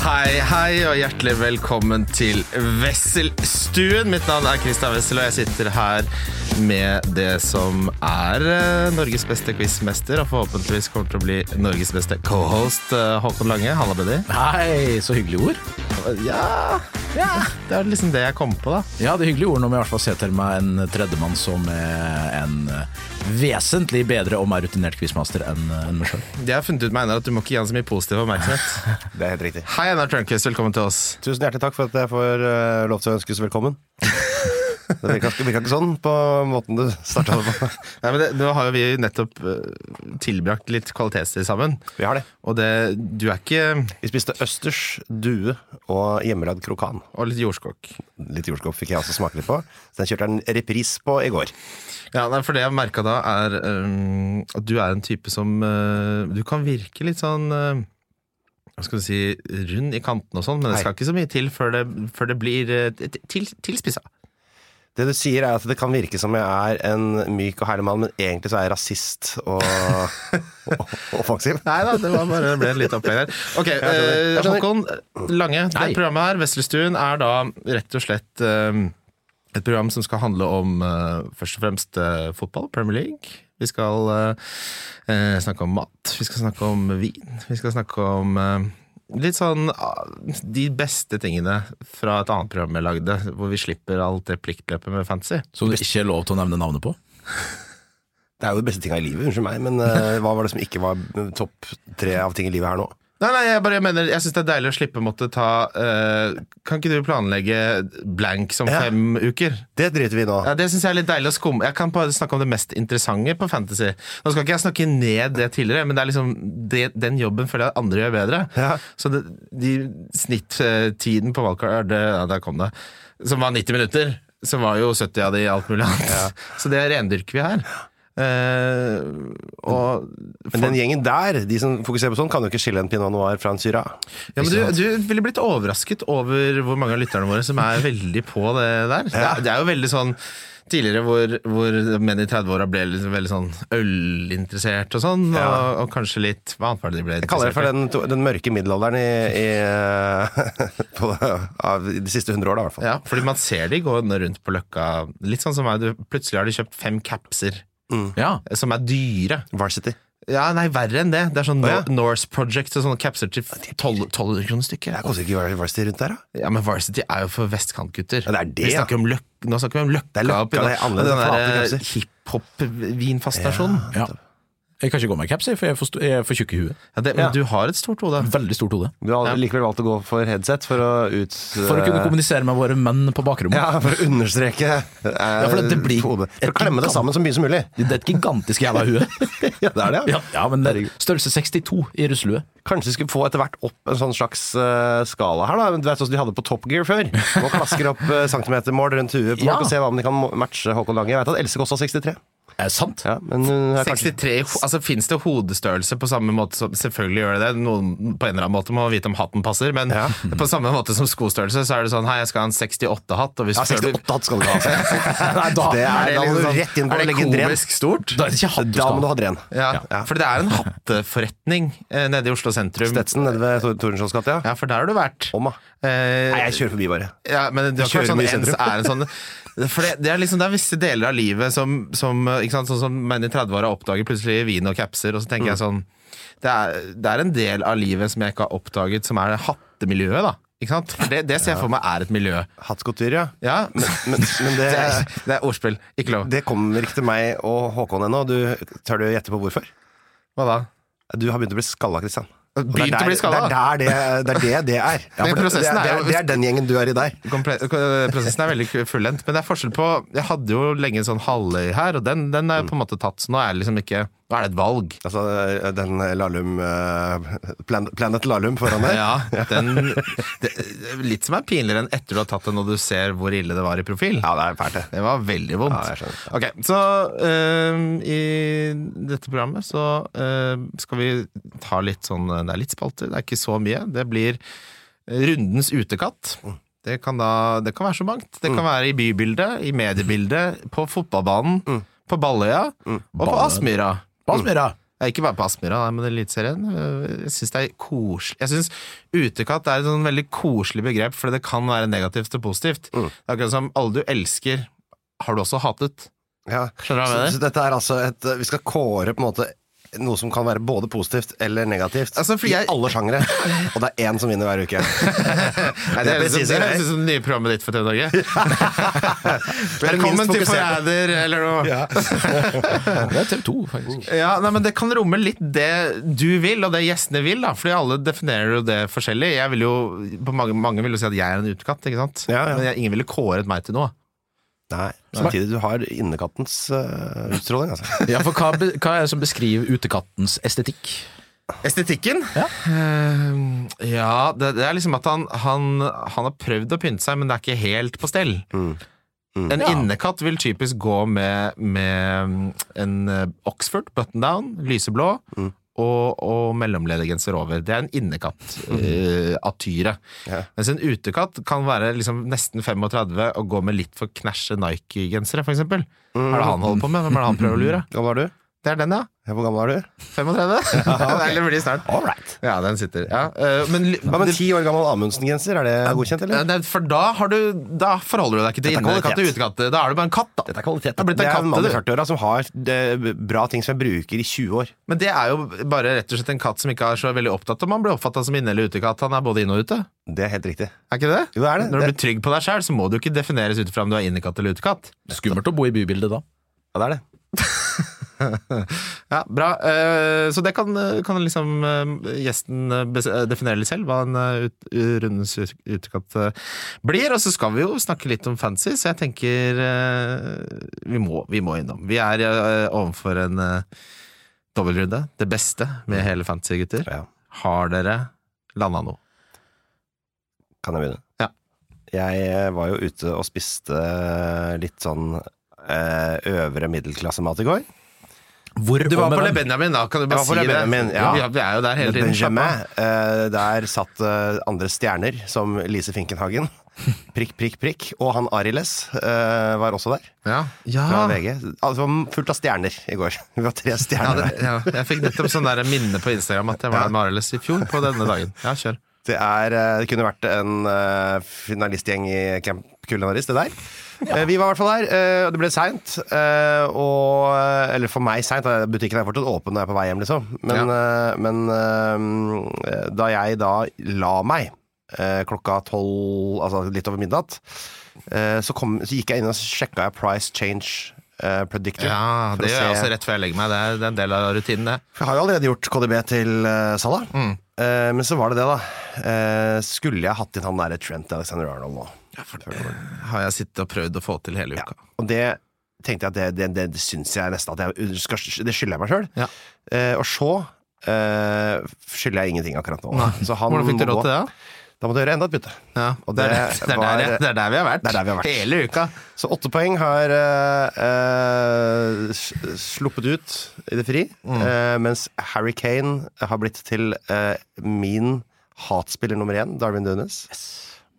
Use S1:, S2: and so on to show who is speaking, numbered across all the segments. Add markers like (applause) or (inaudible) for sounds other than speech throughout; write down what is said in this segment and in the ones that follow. S1: Hei, hei, og hjertelig velkommen til Wesselstuen. Mitt navn er Christian Wessel, og jeg sitter her med det som er eh, Norges beste quizmester, og forhåpentligvis kommer til å bli Norges beste cohost, eh, Håkon Lange. Halla, buddy.
S2: Hei, så hyggelige ord.
S1: Ja, Det er liksom det jeg kom på, da.
S2: Ja, det er hyggelige ord når vi i hvert fall ser til meg en tredjemann som er en vesentlig bedre og mer rutinert quizmaster enn enn meg sjøl.
S1: Jeg har funnet ut med Einar at du må ikke gi han så mye positiv (laughs) oppmerksomhet.
S3: Det er helt riktig.
S1: Hei, Einar Trønkvist, velkommen til oss.
S3: Tusen hjertelig takk for at jeg får eh, lov til å ønskes velkommen. Det virka ikke, virka ikke sånn på måten du starta det på.
S1: Nei, men det, Nå har jo vi nettopp eh, tilbrakt litt kvalitetstid sammen,
S3: (laughs) Vi har det.
S1: og det, du er ikke
S3: Vi spiste østers, due og hjemmelagd krokan.
S1: Og litt jordskokk.
S3: Litt jordskopp fikk jeg også smake litt på. Så den kjørte jeg en repris på i går.
S1: Ja, nei, for det jeg merka da, er øhm, at du er en type som øh, Du kan virke litt sånn øh, hva skal du si, rund i kanten og sånn, men det
S3: Hei.
S1: skal ikke så mye til før det, før det blir øh, t- til, tilspissa.
S3: Det du sier, er at det kan virke som jeg er en myk og herlig mann, men egentlig så er jeg rasist og, og, og offensiv.
S1: Nei da, det var bare det ble et lite opplegg der. Ok,
S3: skjønner. Jeg
S1: øh,
S3: skjønner.
S1: Håkon Lange, det
S2: Hei.
S1: programmet her, Veslestuen, er da rett og slett øhm, et program som skal handle om øh, først og fremst øh, fotball, Premier League. Vi skal øh, øh, snakke om mat, vi skal snakke om vin, vi skal snakke om øh, litt sånn ah, de beste tingene fra et annet program jeg lagde, hvor vi slipper alt det pliktløpet med fancy.
S2: Som du ikke er lov til å nevne navnet på.
S3: Det er jo de beste tinga i livet, unnskyld meg, men eh, hva var det som ikke var topp tre av ting i livet her nå?
S1: Nei, nei, jeg bare mener Jeg syns det er deilig å slippe å måtte ta øh, Kan ikke du planlegge blank som
S3: Ja.
S1: fem uker?
S3: Det driter vi i nå.
S1: Ja, det synes jeg er litt deilig å skumme. Jeg kan bare snakke om det mest interessante på Fantasy. Nå skal ikke jeg snakke ned det tidligere, men det er liksom det, den jobben føler jeg at andre gjør bedre.
S3: Ja.
S1: Så det, de snittiden på valgkart det, ja, Der kom det. Som var 90 minutter. Som var jo 70 av de alt mulig annet. Så det rendyrker vi her. Eh, og
S3: Men den gjengen der, de som fokuserer på sånn, kan jo ikke skille en pinot noir fra en syra.
S1: ja, men du, du ville blitt overrasket over hvor mange av lytterne våre som er veldig på det der. Det er, det er jo veldig sånn Tidligere hvor, hvor menn i 30-åra ble liksom veldig sånn ølinteressert og sånn, og, og kanskje litt Hva annet var det de ble
S3: Jeg kaller det
S1: interessert
S3: for den, to- den mørke middelalderen i, i, (laughs) på, av de siste hundre åra, i hvert fall.
S1: Ja, fordi man ser de gå rundt på Løkka Litt sånn som meg, du, plutselig har de kjøpt fem capser
S3: Mm.
S1: eh,
S2: Ja,
S1: som er dyre.
S3: Varsity.
S1: Ja, nei, verre enn det. Det er sånn
S3: Å, ja.
S1: Nor- Norse Project og sånne capser til 1200 kroner stykket.
S3: Det koster ikke var- Varsity rundt der, da.
S1: Ja, men Varsity er jo for vestkantgutter.
S3: Ja, det er det,
S1: vi
S3: ja.
S1: snakker om løk, nå snakker vi om
S3: Det
S1: Løkka
S3: er Løkka,
S1: oppi nå.
S3: det er alle
S1: den
S3: flate
S1: der eh,
S3: kapser.
S1: hiphop-vinfaststasjonen. Ja.
S2: ja. Jeg kan ikke gå med caps, jeg, for jeg er for sto- jeg er for tjukk i huet.
S1: det- men du har et stort hode.
S2: Veldig stort hode.
S3: Du har likevel valgt å gå for headset for å ut
S2: For å kunne kommunisere med våre menn på bakrommet.
S3: (laughs) Ja, for å understreke ja,
S2: for det blir
S3: For
S2: et
S3: å klemme det
S2: gigant-
S3: sammen så mye som mulig.
S2: Det er et gigantisk jævla (laughs) hue.
S3: Ja, det er det.
S2: Ja, ja, men det er størrelse 62 i russelue.
S3: Kanskje vi skulle få etter hvert opp en sånn slags eh, skala her, da. Du vet sånn som de hadde på Top Gear før. Nå klasker opp eh, centimetermål rundt huet på
S2: Ja.
S3: folk og ser hva om de kan mo- matche Håkon Lange. Jeg vet at Else Kåss har 63.
S2: Er det sant?
S3: Ja, men hun er kanskje
S1: 63, ho- altså Fins det hodestørrelse på samme måte som Selvfølgelig gjør det det. Noen på en eller annen måte må vite om hatten passer, men
S3: Ja.
S1: på samme måte som skostørrelse, så er det sånn Hei, jeg skal ha en 68-hatt. Og hvis
S3: Ja,
S1: før du-
S3: 68 hatt skal du
S1: (laughs)
S3: ha.
S2: Nei, da,
S3: Det
S1: det
S3: er, da må
S1: liksom
S3: du
S1: sånn-
S3: rett inn på
S1: er
S3: å
S1: det
S3: legge en dren.
S1: komisk stort?
S2: da er det ikke hatt du
S3: Da
S2: skal
S3: må du
S2: ha.
S3: ha dren.
S1: Ja, For det er en hatteforretning eh, nede i Oslo sentrum.
S3: Stetsen nede ved Tor- Torensons gate, ja.
S1: Ja, for der har du vært.
S3: Om, da.
S1: Eh,
S3: Nei, jeg kjører forbi, bare.
S1: Ja, men det,
S3: Kjører
S1: er sånn,
S3: mye i
S1: ens
S3: sentrum.
S1: er en sånn For det, det, er liksom, det er visse deler av livet som, som eh, ikke sant, Sånn som menn i 30-åra oppdager plutselig vin og capser, og så tenker jeg sånn det er, det er en del av livet som jeg ikke har oppdaget, som er hattemiljøet, da. Ikke sant? For det, det ser jeg for meg er et miljø.
S3: Hattgottyr, ja.
S1: Ja,
S3: Men, men,
S1: (laughs)
S3: men det,
S1: det, er, det er ordspill. Ikke lov.
S3: det kommer ikke til meg og Håkon ennå. Du, tør du å gjette på hvorfor?
S1: Hva da?
S3: Du har begynt å bli skalla, Kristian.
S1: Begynt å bli skalla?
S3: Det er der det det er. Det er, det, det er.
S1: (laughs) Men
S3: Ja, for det, det,
S1: prosessen
S3: er, det,
S1: er jo-
S3: er det er den gjengen du er i der.
S1: Komple eh, prosessen er veldig k- Mm. fullendt, men det er forskjell på Jeg hadde jo lenge en sånn halvøy her, og den, den er på en måte tatt, så nå er jeg liksom ikke Nå er det et valg.
S3: Altså den Lahlum eh, Plan Planet Lahlum foran deg.
S1: (laughs) Ja, den, det, Litt som er pinligere enn etter du har tatt den og du ser hvor ille det var i profil.
S3: Ja, det er fælt, det.
S1: Det var veldig
S3: Ja, jeg
S1: vondt.
S3: skjønner.
S1: ok, Så øhm, i dette programmet så øhm, skal vi ta litt sånn Det er litt spalter, det er ikke så mye. Det blir eh, rundens utekatt. Det kan, da, det kan være så mangt. Det
S3: Mm.
S1: kan være i bybildet, i mediebildet, på fotballbanen,
S3: Mm.
S1: på Balløya og på
S2: Balløya.
S1: Aspmyra.
S2: Hva smyra?
S1: Ja, ikke bare på Aspmyra, nei, men Eliteserien. øh, Jeg syns det er koselig Jeg synes utekatt er et sånn veldig koselig begrep, for det kan være negativt og positivt.
S3: Mm.
S1: Det er akkurat som alle du elsker, har du også hatet.
S3: Ja.
S1: Skjønner du hva jeg mener?
S3: Så, så dette er altså et Vi skal kåre på en måte noe som kan være både positivt eller negativt
S1: Altså, for jeg-
S3: i alle sjangere. Og det er én som vinner hver
S1: (laughs)
S3: uke.
S1: Nei,
S3: det er
S1: høres ut som- det
S3: presis, det er.
S1: høres ut som det nye programmet ditt for
S3: (laughs)
S1: TV Norge. Velkommen
S3: minst
S1: til
S3: fokuserte.
S1: Forræder, eller noe. Ja.
S2: Det er TV 2, faktisk.
S1: nei, men det kan romme litt det du vil, og det gjestene vil, da. Fordi alle definerer jo det forskjellig. Jeg vil jo, på mange, mange vil jo si at jeg er en utekatt, ikke sant?
S3: Ja, ja.
S1: Men jeg, ingen ville kåret meg til noe.
S3: Nei. Samtidig du har innekattens eh, utstråling,
S1: (laughs)
S3: altså.
S2: Ja, for hva, be- hva er det som beskriver utekattens estetikk?
S1: Estetikken?
S2: Ja.
S1: Eh, ja det, det er liksom at han, han, han har prøvd å pynte seg, men det er ikke helt på stell.
S3: Mm.
S1: En
S2: Ja.
S1: innekatt vil typisk gå med, med mm, en eh, Oxford button down, lyseblå, og, og mellomledergenser over. Det er en innekatt eh, atyre.
S3: Ja.
S1: Mens en utekatt kan være liksom nesten 35 og gå med litt for knæsje Nike-gensere, f.eks. eksempel Hva er det han holder på med? Hvem er det han prøver å lure?
S3: Hvor gammel er du?
S1: Det er den, ja.
S3: Ja, Hvor gammel er du?
S1: 35? (laughs) Eller blir det snart?
S3: All right.
S1: Ja, den sitter. Ja. eh, men, li-
S3: Ja, men
S1: det-
S3: Ti år gammel Amundsen-genser, er det godkjent,
S1: Ja,
S3: eller?
S1: det- for da, har du, da forholder du deg ikke til
S3: Dette er
S1: innekatt og
S3: kvalitet.
S1: utekatt. Da er du bare en katt, da.
S3: Dette er kvalitet.
S1: Det er blitt en
S3: Det er
S1: katt,
S3: en mann i
S1: du.
S3: 40-åra som har det, bra ting som jeg bruker i 20 år.
S1: Men det er jo bare rett og slett en katt som ikke er så veldig opptatt om han blir oppfatta som inne- eller utekatt. Han er både inne og ute.
S3: Det er helt riktig.
S1: Er ikke det?
S3: Jo, det er det.
S1: Når du
S3: Det-
S1: blir trygg på deg sjøl, så må du ikke defineres ut fra om du er innekatt eller utekatt.
S2: Skummelt å bo i bybildet da.
S3: Ja, det er det.
S1: Ja, bra. Eh, Så det kan, kan liksom eh, gjesten eh, bes- eh, definere litt selv, hva en eh, ut, rundens ut- utekatt eh, blir. Og så skal vi jo snakke litt om fancy, så jeg tenker eh, vi må, vi må innom. Vi er eh, overfor en eh, dobbeltrunde. Det beste med hele fancy, gutter.
S3: Ja.
S1: Har dere landa noe?
S3: Kan jeg begynne?
S1: Ja.
S3: Jeg eh, var jo ute og spiste litt sånn eh, øvre middelklassemat i går.
S2: Hvor
S1: Du var
S2: og med
S1: på Le
S2: hvem?
S1: Benjamin, da. Kan du
S3: Jeg
S1: bare
S3: var på
S1: si
S3: Le
S1: det?
S3: Benjamin, ja.
S1: Vi, vi er jo der hele tiden. slapp av.
S3: Benjamin, eh, der satt eh, andre stjerner, som Lise Finkenhagen.
S1: (laughs)
S3: Prikk, prikk, prikk. Og han Ari Less eh, var også der,
S1: Ja.
S3: fra
S1: Ja.
S3: VG. Altså, det var fullt av stjerner i går. (laughs) Vi var tre
S1: Ah. Ja,
S3: stjerner
S1: det,
S3: der.
S1: ja, jeg fikk nettopp sånn der minne på Instagram at jeg var der med Arild i fjor på denne dagen. Ja, kjør.
S3: Det, er, eh, det kunne vært en eh, finalistgjeng i Camp Kulinaris, det der. Eh, Vi var i hvert fall der, eh, og det ble seint. eh, og- eh, Eller for meg seint, da butikken er fortsatt åpen når jeg er på vei hjem, liksom. Men, eh, men eh, da jeg da la meg eh, klokka tolv, altså litt over midnatt, eh, så, kom, så gikk jeg inn og sjekka jeg Price Change eh, Predictor.
S1: Ja,
S3: for å
S1: det gjør jeg
S3: se-
S1: også rett før jeg legger meg. Det er, det er en del av rutinen, det.
S3: jeg har jo allerede gjort KDB til uh, Salah,
S1: Mm.
S3: Eh, men så var det det, da. Eh, skulle jeg hatt inn han derre Trent Alexander Arnold nå?
S1: Har jeg sittet og prøvd å få til hele
S3: Ja.
S1: uka.
S3: Og det tenkte jeg at det, det, det, det syns jeg nesten at jeg skal, Det skylder jeg meg sjøl.
S1: Ja.
S3: og så eh, skylder jeg ingenting akkurat nå. Så han
S1: Hvordan fikk du
S3: må
S1: råd
S3: gå-
S1: til det?
S3: Da må du gjøre enda et bytte.
S1: da? Ja,
S3: Og
S1: det, er,
S3: det
S1: det, er der,
S3: var-
S1: jeg- det er der vi har vært.
S3: Det er der vi har vært.
S1: Hele uka.
S3: Så åtte poeng har eh, eh, s- sluppet ut i det fri, eh, mens Harry Kane har blitt til eh, min hatspiller nummer én, Darwin Dunes.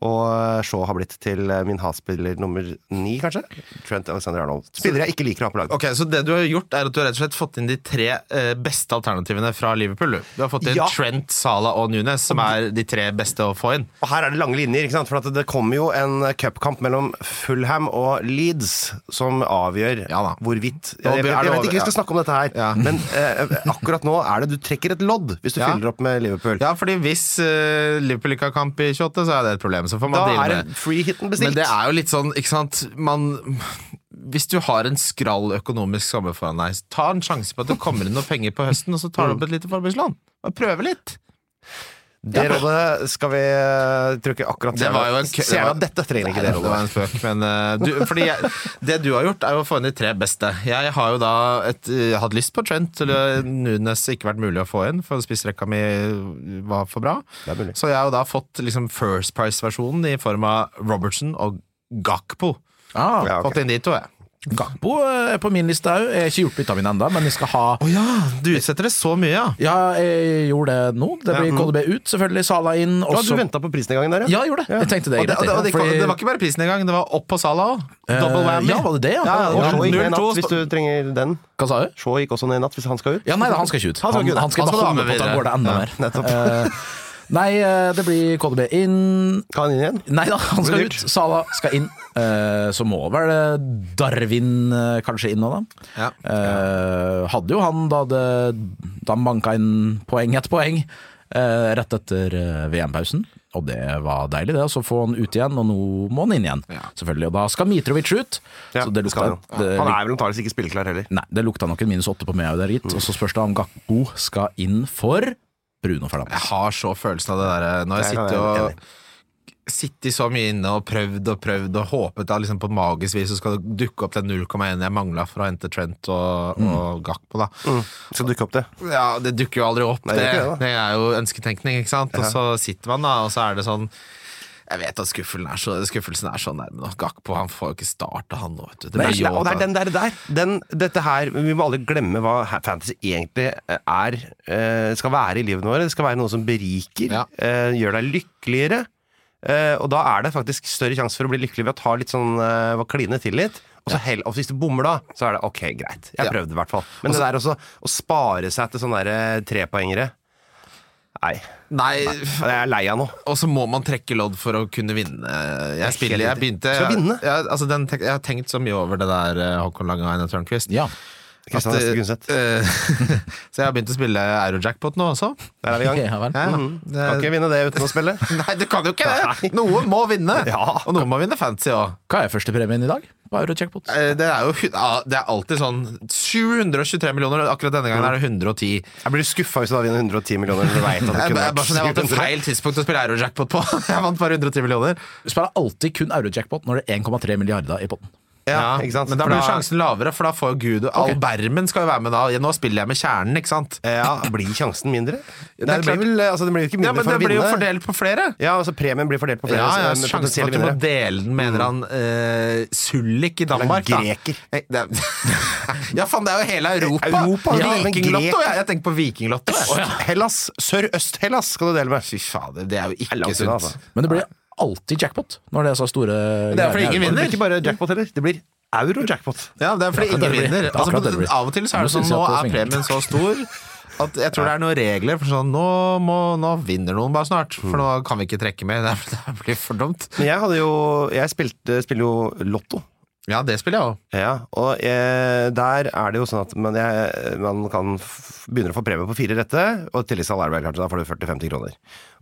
S3: Og Shaw har blitt til eh, min hatspiller nummer ni, kanskje. Trent Alexander Arnold. Spillere jeg ikke liker å ha på lag.
S1: Ok, Så det du har gjort, er at du har rett og slett fått inn de tre eh, beste alternativene fra Liverpool. du. Du har fått inn
S3: Ja.
S1: Trent, Salah og Nunes, som er de tre beste å få inn.
S3: Og her er det lange linjer, ikke sant? for at det kommer jo en cupkamp mellom Fulham og Leeds som avgjør
S1: Ja da.
S3: hvorvidt
S1: Nå
S3: jeg, jeg, jeg,
S1: er det
S3: vet ikke vi
S1: over,
S3: skal snakke om dette her,
S1: Ja.
S3: men eh, akkurat nå er det du trekker et lodd hvis du
S1: Ja.
S3: fyller opp med Liverpool.
S1: Ja, fordi hvis eh, Liverpool ikke har kamp i 28, så er det et problem. Så får man
S3: Da
S1: deale
S3: er
S1: med
S3: det free-hitten bestilt.
S1: Men det er jo litt sånn, ikke sant Man, Hvis du har en skrall økonomisk sommer foran deg, så ta en sjanse på at det kommer inn noe penger på høsten, og så tar du opp et lite forbrukslån. Bare prøve litt.
S3: Det rådet skal vi eh, tror ikke akkurat
S1: Det var jo en kø-
S3: Ser du at dette trenger ikke det
S1: Det var
S3: rådet.
S1: en spøk, men eh, du, fordi jeg, Det du har gjort, er jo å få inn de tre beste. Jeg har jo da et, eh, hatt lyst på Trent, eller Nunes ikke vært mulig å få inn, for spissrekka mi var for bra.
S3: Det er mulig.
S1: Så jeg har jo da fått liksom First Price-versjonen i form av Robertson og Gakpo.
S2: Ah,
S3: Ja, ok.
S1: Fått inn de to, jeg.
S2: Gakpo eh, er på min liste òg. Jeg har ikke gjort bytta mine ennå, men jeg skal ha
S1: Du utsetter det så mye, ja.
S2: Ja, jeg gjorde det nå. Det blir KDB ut, selvfølgelig. Sala inn. Og
S3: Ja, du
S2: så
S3: venta på prisnedgangen der,
S2: Ja, jeg gjorde det. Jeg tenkte det er
S3: Og det-
S2: greit.
S3: og det- og
S1: Det,
S2: fordi-
S1: det var ikke bare prisen engang, det var opp på Salah òg. Double
S2: Eh,
S1: whammy.
S2: ja, var det det, ja?
S1: ja,
S3: Og Shaw gikk ned
S1: 0-2
S3: i natt hvis du trenger den.
S2: Hva sa du?
S3: Shaw gikk også ned i natt hvis han skal ut.
S2: Ja, nei, da, han skal ikke ut.
S3: Han skal ikke ut.
S2: han skal
S1: Han
S2: bare
S1: skal da
S2: holde på
S1: med
S2: til han går det enda mer. Eh, nei, eh, det blir KDB inn.
S3: Kan han inn igjen?
S2: Nei da, han skal
S3: Blir
S2: ut.
S3: dyrt.
S2: Sala skal inn. Eh, så må vel eh, Darwin eh, kanskje inn nå, da.
S1: Ja.
S2: Eh, hadde jo han da det Da han banka inn poeng etter poeng eh, rett etter eh, VM-pausen. Og det var deilig, det. Og så få han ut igjen, og nå må han inn igjen. Selvfølgelig. Og da skal Mitrovic ut.
S3: Ja,
S2: så det
S3: skal han
S2: lukta,
S3: jo.
S2: det,
S3: Han er vel antakeligvis ikke spilleklar heller.
S2: nei, det lukta nok en minus åtte på meg òg der, gitt. Og så spørs det om Gakbo skal inn for Bruno
S1: Jeg
S2: Fernandes.
S1: har så følelsen av det der eh, Når jeg
S3: Det kan
S1: sitter
S3: jeg være
S1: og Sitter så mye inne og prøvd og prøvd og håpet at liksom på magisk vis så skal det dukke opp den 0,1 jeg mangla for å hente Trent og, og Gakpo. da
S3: Mm. Skal dukke opp det.
S1: Ja, Det dukker jo aldri opp,
S3: Nei,
S1: det,
S3: det
S1: det,
S3: gjør ikke det, da.
S1: er jo ønsketenkning. ikke sant? Og så sitter man da, og så er det sånn Jeg vet at skuffelsen er så, skuffelsen er så nærme nå. Gakpo han får jo ikke starta, han nå. vet du. Det blir
S3: Det er-
S1: jo-
S3: og det er den der, der. Den, dette her, Vi må aldri glemme hva ha- fantasy egentlig er, eh, skal være i livet vårt. Det skal være noe som beriker,
S1: Ja.
S3: eh, gjør deg lykkeligere. Eh, og da er det faktisk større sjanse for å bli lykkelig ved å ta litt sånn, eh, å kline til litt. Og så hell, og hvis du bommer da, så er det ok, greit. Jeg
S1: Ja. Altså-
S3: prøvde i hvert fall. Men det der også, å spare seg til sånne der, eh, trepoengere Nei.
S1: Nei,
S3: Jeg er lei av nå.
S1: Og så må man trekke lodd for å kunne vinne. Jeg spiller, jeg begynte
S3: Skal
S1: jeg,
S3: vinne?
S1: jeg, altså den, tek- jeg har tenkt så mye over det der eh, Håkon Langeheim og Tørnquist.
S2: Ja.
S1: At,
S3: Kristian Heste Gundset.
S1: eh, (laughs) så jeg har begynt å spille Eurojackpot nå også.
S3: Der er vi i gang.
S2: (laughs) Ja, vel.
S1: (laughs) Ja,
S3: Kan
S1: det,
S3: ikke vinne det uten å spille.
S1: (laughs) nei, du kan jo ikke det! (laughs) Noen må vinne!
S3: (laughs) Ja.
S1: Og noen må vinne fancy òg.
S2: Hva er førstepremien i dag på Eurojackpot?
S1: Det er jo hu- ja, det er alltid sånn 723 millioner, og akkurat denne gangen er det 110.
S3: Jeg blir skuffa hvis du da vinner 110 millioner. Når du vet
S1: (laughs)
S3: at det
S1: Jeg, jeg,
S3: kunne
S1: bare sånn, jeg vant
S3: vært
S1: på
S3: 700.
S1: feil tidspunkt å spille Eurojackpot på. (laughs) Jeg vant bare 110 millioner.
S2: Du spiller alltid kun Eurojackpot når det er 1,3 milliarder i potten.
S3: Ja, ikke sant?
S1: Men da
S3: For
S1: blir sjansen lavere, for da får jo Gud og All bermen skal jo være med da. Nå spiller jeg med kjernen, ikke sant?
S3: Ja, blir sjansen mindre?
S1: det er
S3: Det, blir
S1: klart.
S3: vel, altså, det blir jo ikke
S1: Ja,
S3: mindre
S1: men
S3: for
S1: det
S3: å
S1: blir jo
S3: vinne.
S1: fordelt på flere.
S3: Ja, altså Premien blir fordelt på flere
S1: Ja, ja,
S3: eh,
S1: Sjansen for at du
S3: potensielle
S1: må
S3: vinnere. Mm.
S1: dele den, mener han eh, Sullik i Danmark. da.
S3: greker.
S1: Nei, det er, (laughs)
S3: (laughs)
S1: ja, faen, det er jo hele Europa!
S3: Europa,
S1: ja,
S3: men
S1: Vikinglotto!
S3: grek-
S1: Jeg, jeg tenker på Vikinglotto. jeg.
S3: Hellas, Sør-Øst-Hellas skal du dele med.
S1: Fy fader, det er jo
S3: er
S1: ikke
S3: langt unna,
S1: sunt.
S3: altså.
S2: Men det blir alltid jackpot når det er så store
S1: det er fordi ingen
S2: greier.
S3: Det
S1: vinner.
S3: blir ikke bare jackpot heller, det blir euro-jackpot.
S1: Ja, det er fordi
S2: det
S1: ingen
S2: blir-
S1: vinner.
S2: det er akkurat det det
S1: Altså,
S2: blir.
S1: av og til så er
S2: Nå
S1: det sånn,
S2: synes jeg
S1: nå
S2: at
S1: er
S2: det svinger.
S1: premien så stor at jeg tror det er noen regler for sånn, nå, må, nå vinner noen bare snart, for nå kan vi ikke trekke mer. (laughs) Det er- det blir for dumt.
S3: Men jeg hadde jo Jeg spilte, spiller jo lotto.
S1: Ja, det spiller jeg òg.
S3: Ja, og eh, der er det jo sånn at man, jeg, man kan f begynner å få premie på fire rette, og tilleggssalærvei kanskje, da får du 40-50 kroner.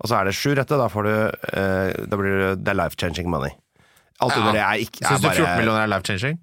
S3: Og så er det sju rette, da får du eh, da blir det, det er life-changing money. Alt under det er ikke
S1: Syns
S3: er
S1: du
S3: bare-
S1: 14 millioner er life changing?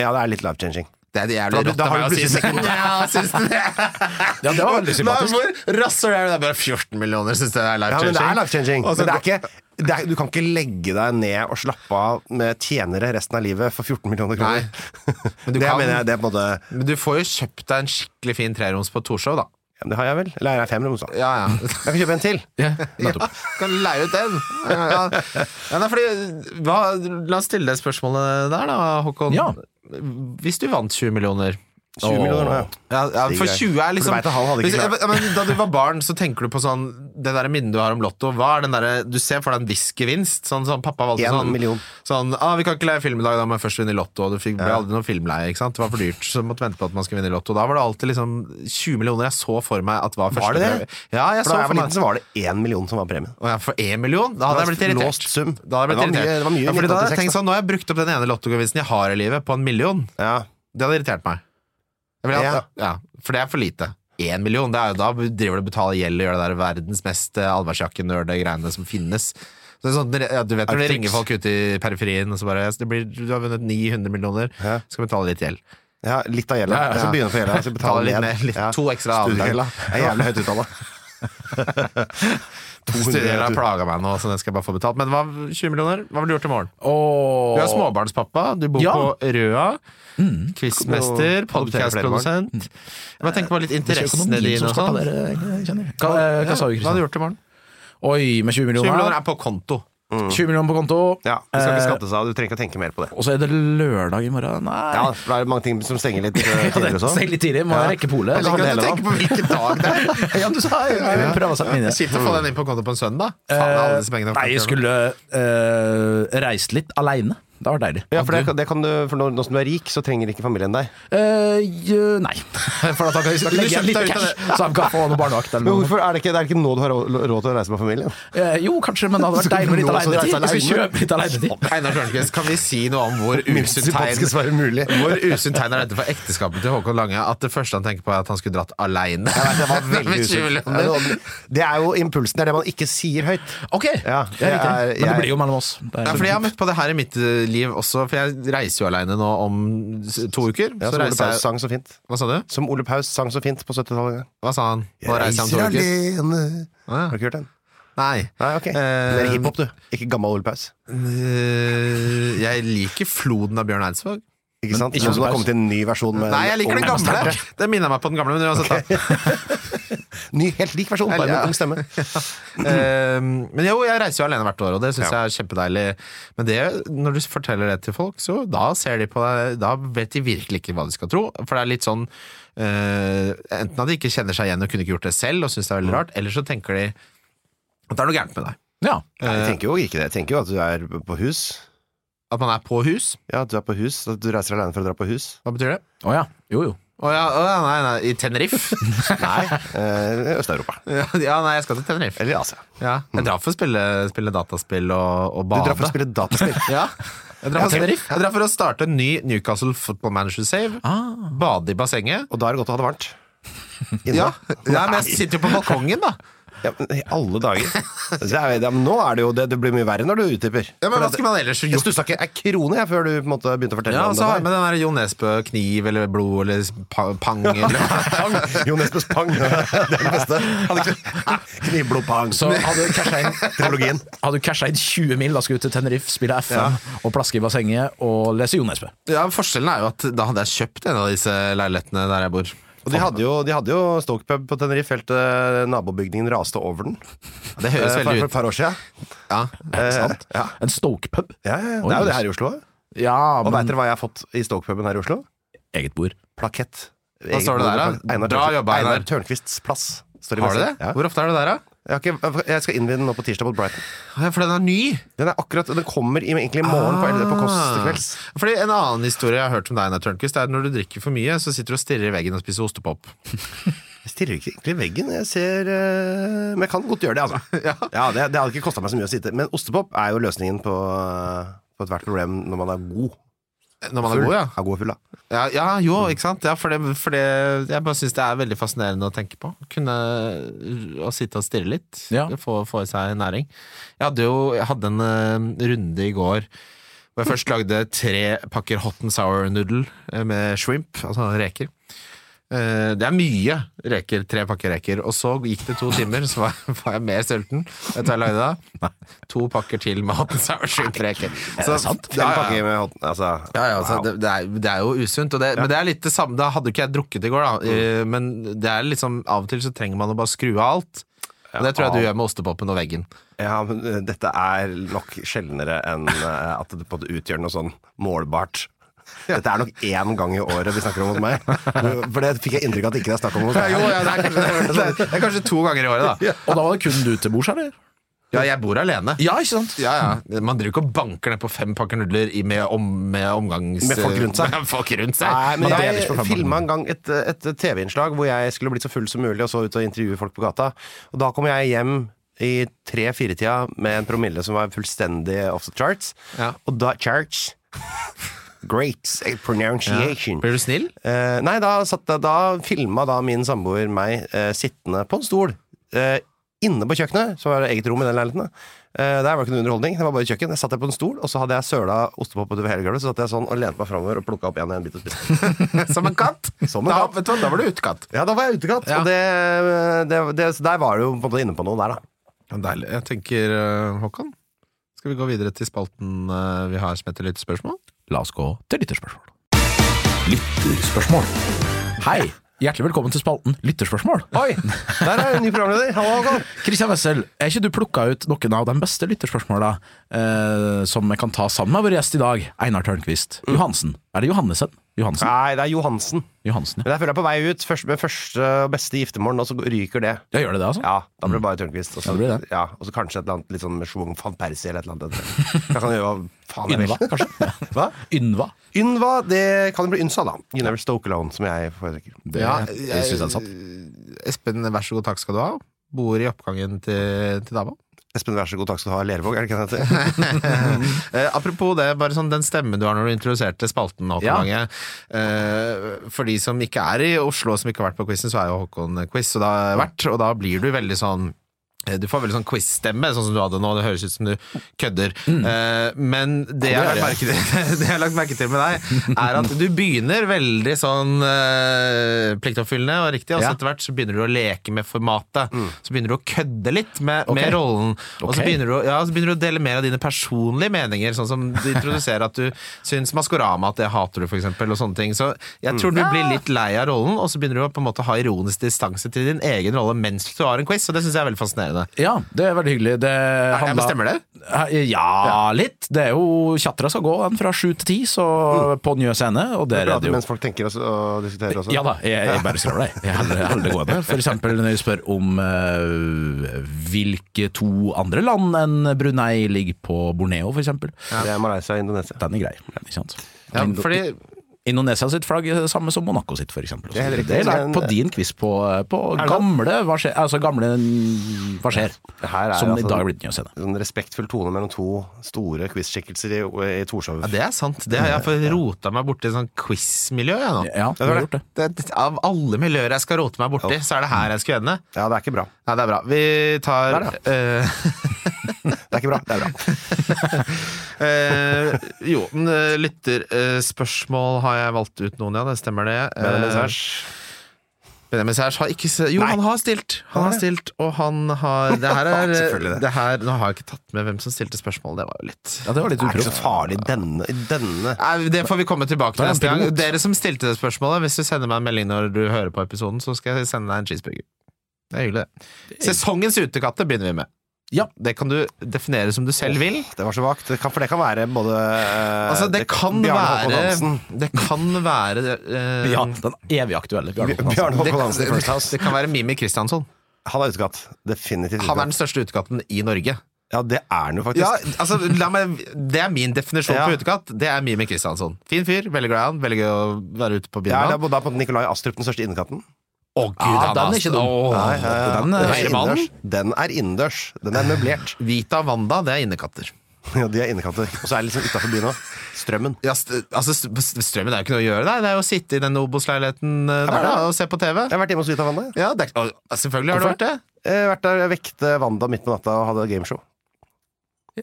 S3: Ja, det er litt life-changing.
S1: Det er
S3: Da-
S1: jævlig rått
S3: da
S1: av
S3: har
S1: meg å
S3: du
S1: si.
S3: plutselig
S1: (laughs) Ja, syns du det? (laughs)
S2: Ja, det var veldig sympatisk.
S1: Hvor rasshøl er du? Det er bare 14 millioner, syns du det er life
S3: Ja, men
S1: changing?
S3: det er life-changing.
S1: Og så-
S3: Men det er ikke det er, du kan ikke legge deg ned og slappe av med tjenere resten av livet for 14 millioner kroner.
S1: Men du
S3: det
S1: kan-
S3: mener jeg, det er på en måte
S1: Men du får jo kjøpt deg en skikkelig fin treroms på Torshov, da.
S3: ja, men Det har jeg vel? Eller er jeg fem rom, så? Jeg
S1: Ja, ja. (laughs)
S3: kan kjøpe en til.
S2: Ja,
S3: (laughs)
S1: Ja,
S2: nettopp.
S1: kan leie ut den. Ja, ja. Ja, nei, fordi, hva, la oss stille det spørsmålet der, da, Håkon.
S2: Ja.
S1: Hvis du vant 20 millioner
S3: 20 millioner nå, ja.
S1: Ja, ja, for
S3: Stig er-
S1: 20 er liksom
S3: For du vet at han hadde ikke
S1: Hvis-
S3: klart.
S1: ja, men Da du var barn, så tenker du på sånn Det der minnet du har om Lotto. Hva er den der, Du ser for deg en whiskyvinst. Sånn som pappa valgte
S3: En
S1: sånn
S3: million.
S1: Sånn, ah, 'Vi kan ikke leie film i dag, da må jeg først vinne i Lotto.' Og du fikk, ble aldri noe filmleie. ikke sant? Det var for dyrt, så du måtte vente på at man skulle vinne i Lotto. Da var det alltid liksom 20 millioner jeg så for meg at var første
S3: Var det
S1: premie.
S3: det?
S1: Ja, jeg
S3: For da
S1: så
S3: jeg
S1: for
S3: var
S1: meg
S3: liten, så var det én million som var premien.
S1: og jeg får én million? Da hadde jeg
S3: Det
S1: blitt
S3: var
S1: irritert.
S3: låst sum.
S1: Da hadde jeg blitt
S3: Det var mye-
S1: irritert.
S3: det var mye
S1: ja, fordi da hadde jeg
S3: 1986,
S1: tenkt sånn, Nå har jeg brukt opp den ene lottogevinsten jeg har i livet, på en million.
S3: Ja.
S1: Det hadde irritert meg. Jeg ville hatt- ja, for det er for lite. Én million, det er jo da driver du og betaler gjeld og gjør det der verdens mest allværsjakke-nerde-greiene som finnes. Så det er sånn, ja, du vet når det
S3: Arctics.
S1: ringer folk ute i periferien og så bare det blir, 'Du har vunnet 900 millioner,
S3: Ja.
S1: skal betale litt gjeld'.
S3: Ja, litt av gjelda.
S2: Ja, ja, ja.
S3: Så begynner du å få gjelda, så
S1: Betaler
S3: betaler
S1: litt
S3: du
S1: mer, litt,
S3: Ja.
S1: to ekstra avdrag. (laughs)
S3: Studiegjelda. Det er jævlig høyt uttale.
S1: Studier har plaga meg nå, så den skal jeg bare få betalt. Men hva, 20 millioner, hva vil du gjøre til morgen?
S2: Og
S1: Du er småbarnspappa, du bor
S2: Ja.
S1: på Røa. Quizmester, podkastprodusent. Hva tenker på litt interessene
S2: Økonomien
S1: dine
S2: som
S1: og
S2: skal
S1: sånn?
S2: ta dere, jeg kjenner. Hva, eh, hva sa
S1: hadde
S2: du,
S1: du
S2: Kristian?
S1: gjort til morgen?
S2: Oi, med 20
S1: 20 millioner
S2: millioner.
S1: er på konto.
S2: 20 millioner på konto. Eh,
S3: Ja, det skal
S1: Eh,
S3: ikke skattes av. Du trenger ikke å tenke mer på det.
S2: Og så er det lørdag i morgen. Nei
S3: Ja, for det er mange ting som stenger
S1: (laughs)
S3: litt eh,
S2: Kan
S3: tidligere
S2: jeg
S3: og sånn.
S2: Selv litt tidlig, må jeg rekke polet.
S1: Jeg liker at du tenker på hvilken dag det (laughs) er.
S2: Ja, du sa jeg, jeg prøver å sette meg inn i det.
S1: Kjipt å få den inn på konto på en søndag. Faen, det er alle disse pengene.
S2: Nei, jeg skulle eh, reist litt aleine. Det hadde vært deilig.
S3: Ja, for, det, det kan du, for nå, nå som du er rik, så trenger ikke familien deg.
S2: Eh, jo, nei. For da kan jeg
S1: du
S2: legge igjen
S1: kjøpt
S2: litt
S1: deg ut av
S2: cash, så han kan få noe barnevakt eller
S3: Men
S2: noe.
S3: hvorfor er det ikke, det er ikke nå du har råd råd til å reise med
S1: (laughs)
S3: familien?
S2: Eh, jo, kanskje, men det hadde vært deilig med litt
S3: Nå skal du
S2: aleinetid.
S3: reise
S2: Jeg skal
S3: alene.
S2: kjøpe litt aleinetid.
S1: Einar Tørnquist, kan vi si noe om hvor usunt
S3: sympatisk som
S1: tegn
S3: er mulig.
S1: Hvor usunt tegn er dette for ekteskapet til Håkon Lange? At det første han tenker på, er at han skulle dratt aleine.
S3: Jeg vet, det
S1: (laughs)
S3: var veldig usunt. Ja, det var- Det er jo impulsen, det er det man ikke sier høyt.
S2: Ok,
S3: Ja,
S2: det er riktig.
S3: jeg er-
S2: Men det
S3: jeg-
S2: blir jo mellom oss. Det er
S1: Ja, fordi Jeg har møtt på det her i mitt eh, liv også, for jeg reiser jo aleine nå om s- to uker.
S3: Ja,
S1: så
S3: som Ole
S1: reiser
S3: Paus
S1: jeg
S3: sang så fint.
S1: Hva sa du?
S3: Som Ole Paus sang så fint på 70-tallet.
S1: Hva sa han? Nå reiser jeg om to uker.
S3: alene
S1: Å,
S3: Har du
S1: ja. Eh,
S3: ikke hørt den?
S1: Nei.
S3: Nei, ok. det er hiphop, du. Ikke gammel Ole Paus.
S1: Eh, Jeg liker floden av Bjørn Eidsvåg.
S3: Ikke sant?
S2: ikke
S3: Ikke som
S2: Ole
S3: har
S2: Paus.
S3: kommet til en ny versjon med
S1: Nei, jeg liker
S3: en
S1: den
S3: ung
S1: gamle!
S3: stemme.
S1: Det minner meg på den gamle. Men uansett, da.
S3: (laughs) Ny, helt lik versjon, bare
S1: Ja.
S3: med ung stemme. (laughs)
S1: Eh, men jo, jeg reiser jo alene hvert år, og det syns jeg er kjempedeilig. Men det, når du forteller det til folk, så da ser de på deg Da vet de virkelig ikke hva de skal tro. For det er litt sånn eh, Enten at de ikke kjenner seg igjen og kunne ikke gjort det selv og syns det er veldig
S3: Mm.
S1: rart, eller så tenker de at det er noe gærent med deg.
S2: Ja.
S3: Nei, Jeg tenker jo ikke det. Jeg tenker jo at du er på hus.
S1: At man er på hus.
S3: Ja, at du er på hus. At du reiser alene for å dra på hus.
S1: Hva betyr det?
S2: Å ja. Jo, jo.
S1: Å ja, å ja, nei, nei, i
S3: (laughs)
S1: Tenerife?
S3: Nei, eh, Øst-Europa.
S1: ja, nei, jeg skal til Tenerife.
S3: Eller i Asia.
S1: Ja, jeg drar for å spille, spille dataspill og, og
S3: Mm. Du
S1: bade.
S3: drar for å spille dataspill.
S1: (laughs) Ja. Jeg drar, for,
S2: Tenerife.
S1: jeg drar for å starte en ny Newcastle Football Manager Save.
S2: Ah.
S1: Bade i bassenget.
S3: Og da er det godt å ha det varmt. Inne.
S1: Ja. Nei, men jeg sitter jo på balkongen, da.
S3: Ja, men I
S1: (laughs)
S3: alle dager. Det er, ja, men nå er det jo det, det blir mye verre når du utdyper.
S1: Ja, men
S3: For
S1: Hva
S3: at-
S1: skulle man ellers
S3: Jeg
S1: gjort?
S3: stussa ikke ei krone jeg, før du på en måte begynte å fortelle
S1: Ja, og
S3: om
S1: så har jeg
S3: det.
S1: med den der Jo Nesbø-kniv eller blod eller pa- pang eller
S3: der. Jo Nesbøs pang. Det er det beste. Han ikke- Knivblodpang.
S2: Så hadde du casha inn,
S3: Trilogien.
S2: hadde du casha inn 20 mil, da skulle du til Tenerife, spille FM og plaske i bassenget og lese Jo Nesbø.
S1: (laughs) Ja, Forskjellen er jo at da hadde jeg kjøpt en av disse leilighetene der jeg bor.
S3: Og de hadde jo, de hadde jo Stokepub på Tenerife helt til nabobygningen raste over den.
S1: Det høres
S3: Eh, For, for
S1: veldig
S3: et
S1: ut.
S3: par år siden.
S1: Ja.
S2: Er det sant? En Stoke-pub.
S3: Ja, ja, ja. Det er jo det her i Oslo. også.
S2: Ja,
S3: Og
S2: men
S3: veit dere hva jeg har fått i Stokepuben her i Oslo?
S2: eget bord.
S3: Plakett.
S1: Hva står det der, da?
S3: Einar
S1: Bra
S3: Tørnquist-
S1: jobba, Einar.
S3: Einar Tørnquists plass. Står i
S1: Har du det?
S3: venstre. Ja.
S1: Hvor ofte er du der, da?
S3: Jeg, har ikke, jeg skal innvie den nå på tirsdag mot Brighton.
S1: Ja, For den er ny.
S3: Den er akkurat, den kommer i- egentlig i morgen på, på
S1: Ah.
S3: Kåss til kvelds.
S1: Fordi En annen historie jeg har hørt om deg, Einar Tørnquist, er at når du drikker for mye, så sitter du og stirrer i veggen og spiser ostepop.
S3: Jeg stirrer ikke egentlig i veggen. Jeg ser eh, Men jeg kan godt gjøre det,
S1: (laughs)
S3: altså. ja. det, det hadde ikke kosta meg så mye å sitte. Men ostepop er jo løsningen på, eh, på ethvert problem når man er god.
S1: Når man er god, ja.
S3: Er god og full, da.
S1: Ja, ja jo, ikke sant? Ja, for det, for det, jeg bare syns det er veldig fascinerende å tenke på. Kunne å sitte og stirre litt.
S2: Ja.
S1: Få, få i seg næring. Jeg hadde jo jeg hadde en eh, runde i går hvor jeg først lagde tre pakker hot and sour noodle eh, med shrimp, altså reker. Eh, Det er mye reker, tre pakker reker. Og så gikk det to timer, så var, (laughs) var jeg mer sulten. Vet du hva jeg lagde da? To pakker til med hot and sour shrimp reker. Så,
S2: sant?
S1: Ja,
S3: Fem
S1: ja,
S3: Eh, pakker med hot- altså,
S1: ja, ja, altså,
S3: wow.
S1: det, det, er, det er jo usunt. Og det, Men det er litt det samme. Da hadde jo ikke jeg drukket i går, da.
S3: Mm.
S1: eh, Men det er liksom, av og til så trenger man å bare skru av alt. Og det tror jeg du gjør med ostepopen og veggen.
S3: ja, men eh, dette er nok sjeldnere enn eh, at det på en måte utgjør noe sånn målbart. Dette er nok én gang i året vi snakker om hos
S1: (laughs)
S3: meg. For det fikk jeg inntrykk av at ikke det er snakk om hos meg.
S1: det, (laughs) er kanskje, to ganger i
S3: (laughs)
S1: året, da.
S2: Og da var det kun du til bords, eller?
S1: Ja, jeg bor alene.
S2: Ja, ikke sant?
S1: Ja, ja. Man driver ikke og banker ned på fem pakker nudler i- med, om, med omgangs...
S3: Med folk rundt seg.
S1: (laughs) Med folk rundt seg.
S3: Nei, men
S1: Man deler ikke på
S3: jeg
S1: fem
S3: filma en gang et, et TV-innslag hvor jeg skulle blitt så full som mulig og så ut og intervjue folk på gata. Og da kom jeg hjem i tre-fire-tida med en promille som var fullstendig off the charts.
S1: Ja.
S3: Og da Charts Great pronunciation.
S1: Blir du snill? (laughs)
S3: Eh, nei, da, satt, jeg- da filma da min samboer meg eh, sittende på en stol eh, Inne på kjøkkenet, så var det eget rom i den leiligheten. da. Eh, Der var det ikke noe underholdning, det var bare kjøkken. Jeg satt der på en stol, og så hadde jeg søla ostepop utover hele gulvet. Så satt jeg sånn og lente meg framover og plukka opp en og en bit og spiste.
S1: Som en katt!
S3: (laughs) Som en
S1: da,
S3: katt.
S1: vet du hva, da var du utekatt.
S3: Ja, da var jeg utekatt,
S2: Ja.
S3: og det, det, det, så der var du jo på en måte inne på noe der, da.
S1: Ja, Deilig. Jeg tenker, eh, Håkon, skal vi gå videre til spalten eh, vi har som heter Lyttespørsmål?
S2: La oss gå til lytterspørsmål. Lytterspørsmål. Hei. Hjertelig velkommen til spalten Lytterspørsmål.
S3: Oi! (laughs) Der er en ny programleder. Hallo, Håkon.
S2: Kristian Wessel, er ikke du plukka ut noen av de beste lytterspørsmåla eh, som jeg kan ta sammen med vår gjest i dag, Einar Tørnquist? Johansen. Er det Johannessen? Johansen?
S3: Nei, det er Johansen.
S2: Johansen, Mm. ja.
S3: Men jeg føler jeg er på vei ut først, med første og beste giftermål, og så ryker det.
S2: ja. Gjør det det, altså?
S3: Ja, da blir det bare Tørnquist. Og så,
S2: Ja, det blir det.
S3: ja, og så kanskje et eller annet litt sånn med schwung van Persie eller et eller annet. etter. Da kan jeg gjøre hva faen jeg
S2: Ynva,
S3: vil.
S2: (laughs) kanskje?
S3: Hva?
S2: Ynva.
S3: Ynva, det kan jo bli Ynsa, da. You never stoke alone, som jeg foretrekker.
S2: Det,
S1: Ja,
S2: det
S1: jeg-
S2: syns jeg er sant.
S1: Espen, vær så god, takk skal du ha. Bor i oppgangen til, til dama.
S3: Espen, vær så god, takk skal du ha. Lervåg, er det ikke det
S2: (laughs)
S3: det heter?
S1: Eh, apropos det, bare sånn den stemmen du har når du introduserte spalten, Håkon
S2: Ja.
S1: Lange. Eh, for de som ikke er i Oslo, som ikke har vært på quizen, så er jo Håkon quiz, og da, vært, og da blir du veldig sånn eh, du får veldig sånn quiz-stemme, sånn som du hadde nå. Det høres ut som du kødder.
S2: Mm.
S1: Eh, men det jeg, har lagt merke til, (laughs) det jeg har lagt merke til med deg, er at du begynner veldig sånn eh, pliktoppfyllende og riktig, og så
S2: Ja. Mm.
S1: etter hvert så begynner du å leke med formatet. Så begynner du å kødde litt med,
S2: Ok.
S1: med rollen. Og så
S2: Ok.
S1: begynner, du, å- ja, så begynner du å dele mer av dine personlige meninger, sånn som du introduserer at du syns Maskorama at det hater du, for eksempel, og sånne ting. Så jeg tror du blir litt lei av rollen, og så begynner du å på en måte ha ironisk distanse til din egen rolle mens du har en quiz, og det syns jeg er veldig fascinerende.
S2: Ja, det er veldig hyggelig. Det handla-
S1: bestemmer det?
S2: Eh, Ja, litt. Det er jo Tjatra skal gå den fra sju til ti, så på Njø scene, og der er
S3: Prate
S2: det jo
S3: mens folk tenker og, og diskuterer også.
S2: Ja da, jeg, jeg bare skriver det. Jeg holder, jeg holder det gående. For eksempel når jeg spør om eh, hvilke to andre land enn Brunei ligger på Borneo, for eksempel.
S3: Det er Malaysia og Indonesia.
S2: Den er grei, ikke sant.
S1: Ja,
S2: Indo-
S1: fordi
S2: Indonesia sitt flagg er det samme som Monaco sitt, for eksempel.
S3: er helt
S2: Det
S3: riktig,
S2: er lært
S3: men- eh,
S2: på din quiz på, eh, på
S3: Er det
S2: gamle hva skjer, altså gamle hva skjer,
S3: her er
S2: som
S3: altså-
S2: i dag er blitt nyhetsscene.
S3: Sånn respektfull tone mellom to store quiz-skikkelser i, i Torshov.
S1: ja, det er sant. Det har jeg fått rota meg borti sånn quiz-miljø, jeg nå.
S2: Ja, du har gjort det.
S1: Det, det- av alle miljøer jeg skal rote meg borti, så er det her jeg skal ende.
S3: Ja, det er ikke bra.
S1: Nei, det er bra. Vi tar
S3: Der,
S1: eh,
S3: Det er ikke bra. Det er bra.
S1: Eh, jo, men eh, lytterspørsmål har jeg valgt ut noen, ja. Det stemmer det. (laughs) Eh,
S3: Benjamin Sash.
S1: Benjamin Sæsj har ikke se- Jo,
S3: Nei.
S1: han har stilt! Han
S3: Har
S1: har
S3: det?
S1: stilt, og han har Det
S3: (laughs)
S1: her er eh,
S3: Selvfølgelig det.
S1: det her, Nå har jeg ikke tatt med hvem som stilte spørsmål, det var jo litt
S2: Ja, det var litt
S3: Det er ikke
S2: uproft.
S3: så farlig denne, denne.
S1: Nei, Det får vi komme tilbake til
S2: Da er
S1: neste
S2: han
S1: gang.
S2: pilot.
S1: Dere som stilte det spørsmålet, hvis du sender meg en melding når du hører på episoden, så skal jeg sende deg en cheeseburger. Det er hyggelig, det. Sesongens utekatter begynner vi med.
S2: Ja.
S1: Det kan du definere som du selv vil.
S3: Det var så vagt. Det kan, for det kan være både eh,
S1: Altså, det kan
S3: Bjarne Håkon
S1: være
S3: Hansen.
S1: Det kan være eh,
S2: Ja, den evig aktuelle Bjarne Håkon Hansen.
S3: Bjarne Håkon
S1: det,
S3: Hansen i First House.
S1: det kan være Mimi Kristiansson.
S3: Han er utekatt.
S1: Han
S3: Definitivt.
S1: er
S3: utekatt.
S1: den største utekatten i Norge.
S3: Ja, det er han jo faktisk.
S1: Ja, altså, la meg, det er min definisjon
S3: Ja.
S1: på utekatt. Det er Mimi Kristiansson. Fin fyr, veldig glad i han. Veldig gøy å være ute på byen
S3: Ja,
S1: med
S3: det
S1: han.
S3: er både da på Nikolai Astrup, den største innekatten.
S1: Å, gud,
S2: Ja,
S1: han
S2: Ah, den er
S1: ass.
S3: altså-
S2: ikke dum.
S1: Åh.
S2: Nei, ja, ja. Den,
S3: Den
S2: eh,
S3: er
S1: Eiermannen?
S3: innendørs. Den er innendørs. Den er møblert. (laughs)
S1: Vita og Wanda, det er innekatter.
S3: Ja, de er innekatter. Og så er det liksom utafor byen òg. Strømmen.
S1: Ja, st altså, st- strømmen er jo ikke noe å gjøre der. Det er jo å sitte i den Obos-leiligheten eh, der da, og se på TV.
S3: Jeg har vært hjemme hos Vita Wanda. jeg.
S1: Ja, det er, å, selvfølgelig har du vært det.
S3: Jeg har Eh, vært der jeg vekte Wanda midt på natta og hadde gameshow.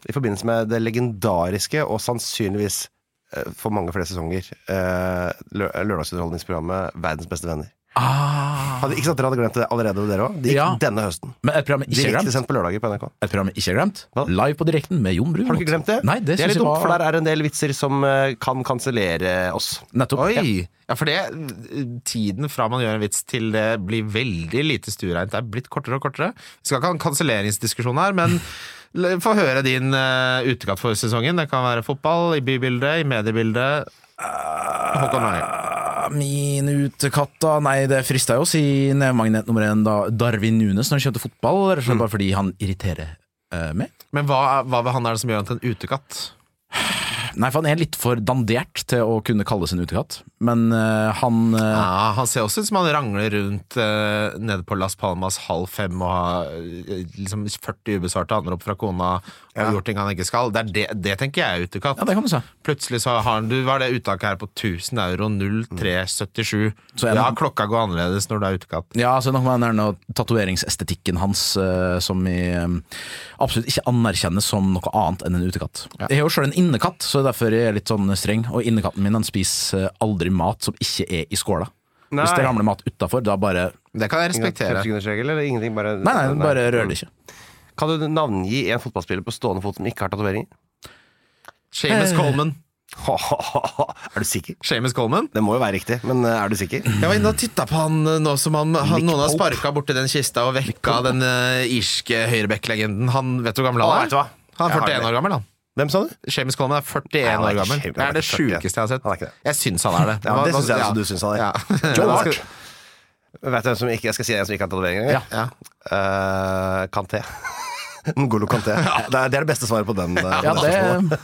S3: I forbindelse med det legendariske og sannsynligvis eh, for mange flere sesonger eh, lø- lørdagsunderholdningsprogrammet Verdens beste venner.
S2: Ah,
S3: Hadde, ikke sant dere hadde glemt det allerede, dere òg? Det gikk
S2: Ja.
S3: denne høsten.
S2: men et program jeg ikke har
S3: Direkte
S2: glemt.
S3: sendt på lørdager på NRK.
S2: Et program jeg ikke har glemt.
S3: Hva?
S2: Live på direkten med Jon Brun.
S3: Har du ikke glemt det?
S2: Nei, det,
S3: er
S2: synes
S3: litt
S2: jeg
S3: dumt, for
S2: var
S3: der er en del vitser som eh, kan kansellere oss.
S2: Nettopp.
S1: Oi!
S2: Ja.
S1: Ja, for det Tiden fra man gjør en vits til det blir veldig lite stuereint, det er blitt kortere og kortere. Vi skal ikke ha en kanselleringsdiskusjon her, men l- få høre din eh, utekatt for sesongen. Det kan være fotball, i bybildet, i mediebildet. Eh, Håkon Lange.
S2: Ah, Min utekatt, da. Nei, det frista jo å si nevemagnet nummer én, da. Darwin Nunes når han kjøpte fotball, rett og slett bare fordi han irriterer eh, meg.
S1: Men hva, er- hva ved han er det som gjør han til en utekatt?
S2: Nei, for han er litt for dandert til å kunne kalles en utekatt. men eh, han eh,
S1: Ja, Ah, han ser også ut som han rangler rundt eh, nede på Las Palmas halv fem og har eh, liksom 40 ubesvarte anrop fra kona og gjort ting han ikke skal. Det, er det, det tenker jeg er utekatt.
S2: Ja, det kan du si.
S1: Plutselig så har han Du var det uttaket her på 1000 euro, 0377.
S2: Så en-
S1: Ja, klokka går annerledes når du er utekatt.
S2: Ja, så nok med den der nå tatoveringsestetikken hans, eh, som jeg eh, absolutt ikke anerkjennes som noe annet enn en utekatt. Jeg er jo sjøl en innekatt, så det er derfor jeg er litt sånn streng. Og innekatten min han spiser eh, aldri mat som ikke er i skåla.
S3: Nei.
S2: Hvis det ramler mat utafor, da bare
S1: Det kan jeg
S3: Fem
S1: respektere.
S3: sekunders regel, eller ingenting? Bare,
S2: Nei, nei, bare rører det ikke.
S3: Kan du navngi en fotballspiller på stående fot som ikke har tatoveringer? (laughs)
S1: Seamus Coleman.
S3: er du sikker?
S1: Seamus Coleman?
S3: Det må jo være riktig, men eh, er du sikker?
S1: Jeg var inne og titta på han eh, nå som han, han
S3: Nick
S1: noen har
S3: Pope.
S1: sparka borti den kista og vekka den eh, irske høyreback-legenden. Han vet du hvor gammel
S3: Å,
S1: han
S3: vet du hva?
S1: er? Han
S3: Jeg
S1: er
S3: har
S1: 41 år gammel, han.
S3: Hvem sa du?
S1: Seamus Coleman er 41
S3: han er
S1: år
S3: ikke
S1: gammel.
S3: Seamus,
S1: Det
S3: han er
S1: er det
S3: ikke 41.
S1: sjukeste jeg har
S3: Han er ikke
S1: sett.
S3: det.
S1: Jeg syns han er det.
S3: Ja,
S1: Hva-
S3: det
S1: hva-
S3: syns jeg også du syns han er.
S1: Ja.
S3: Joe
S1: Hva skal-
S3: Hart. Vet du hvem som ikke Jeg skal si en som ikke har tatoveringer?
S2: Ja.
S1: Ja.
S3: Eh, Kanté. (laughs) Ngolo Kanté. Det er det, er det beste svaret på den. eh, på
S2: Ja, det,
S3: spørsmålet.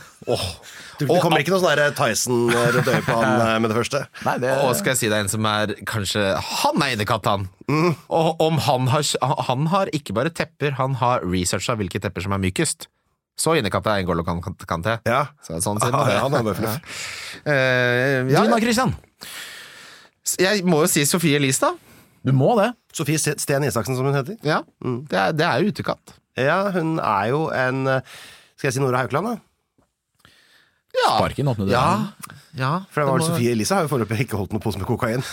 S3: Du, det kommer ikke noe sånn der Tyson rundt øyet på han eh, med det første.
S2: nei, det
S1: Og skal jeg si det er en som er kanskje Han er innekatt, han! Og om han har Han har ikke bare tepper, han har researcha hvilke tepper som er mykest. Så innekatt er Ngolo Kan- Kanté.
S3: Ja.
S1: Så sånn siden
S3: Ah, ja, han er bøffel.
S1: Eh, ja,
S2: Dina Christian,
S1: jeg må jo si Sofie Elise, da.
S2: du må det.
S3: Sofie St- Sten Isaksen, som hun heter.
S1: Ja. Mm. Det, er, det er jo utekatt.
S3: Ja, hun er jo en eh, Skal jeg si Nora Haukeland, da?
S1: Ja.
S2: Sparken åpner døren.
S1: Ja. ja.
S3: For det var
S1: Det
S3: vel
S1: må-
S3: Sofie Elise har jo foreløpig ikke holdt noen pose med kokain.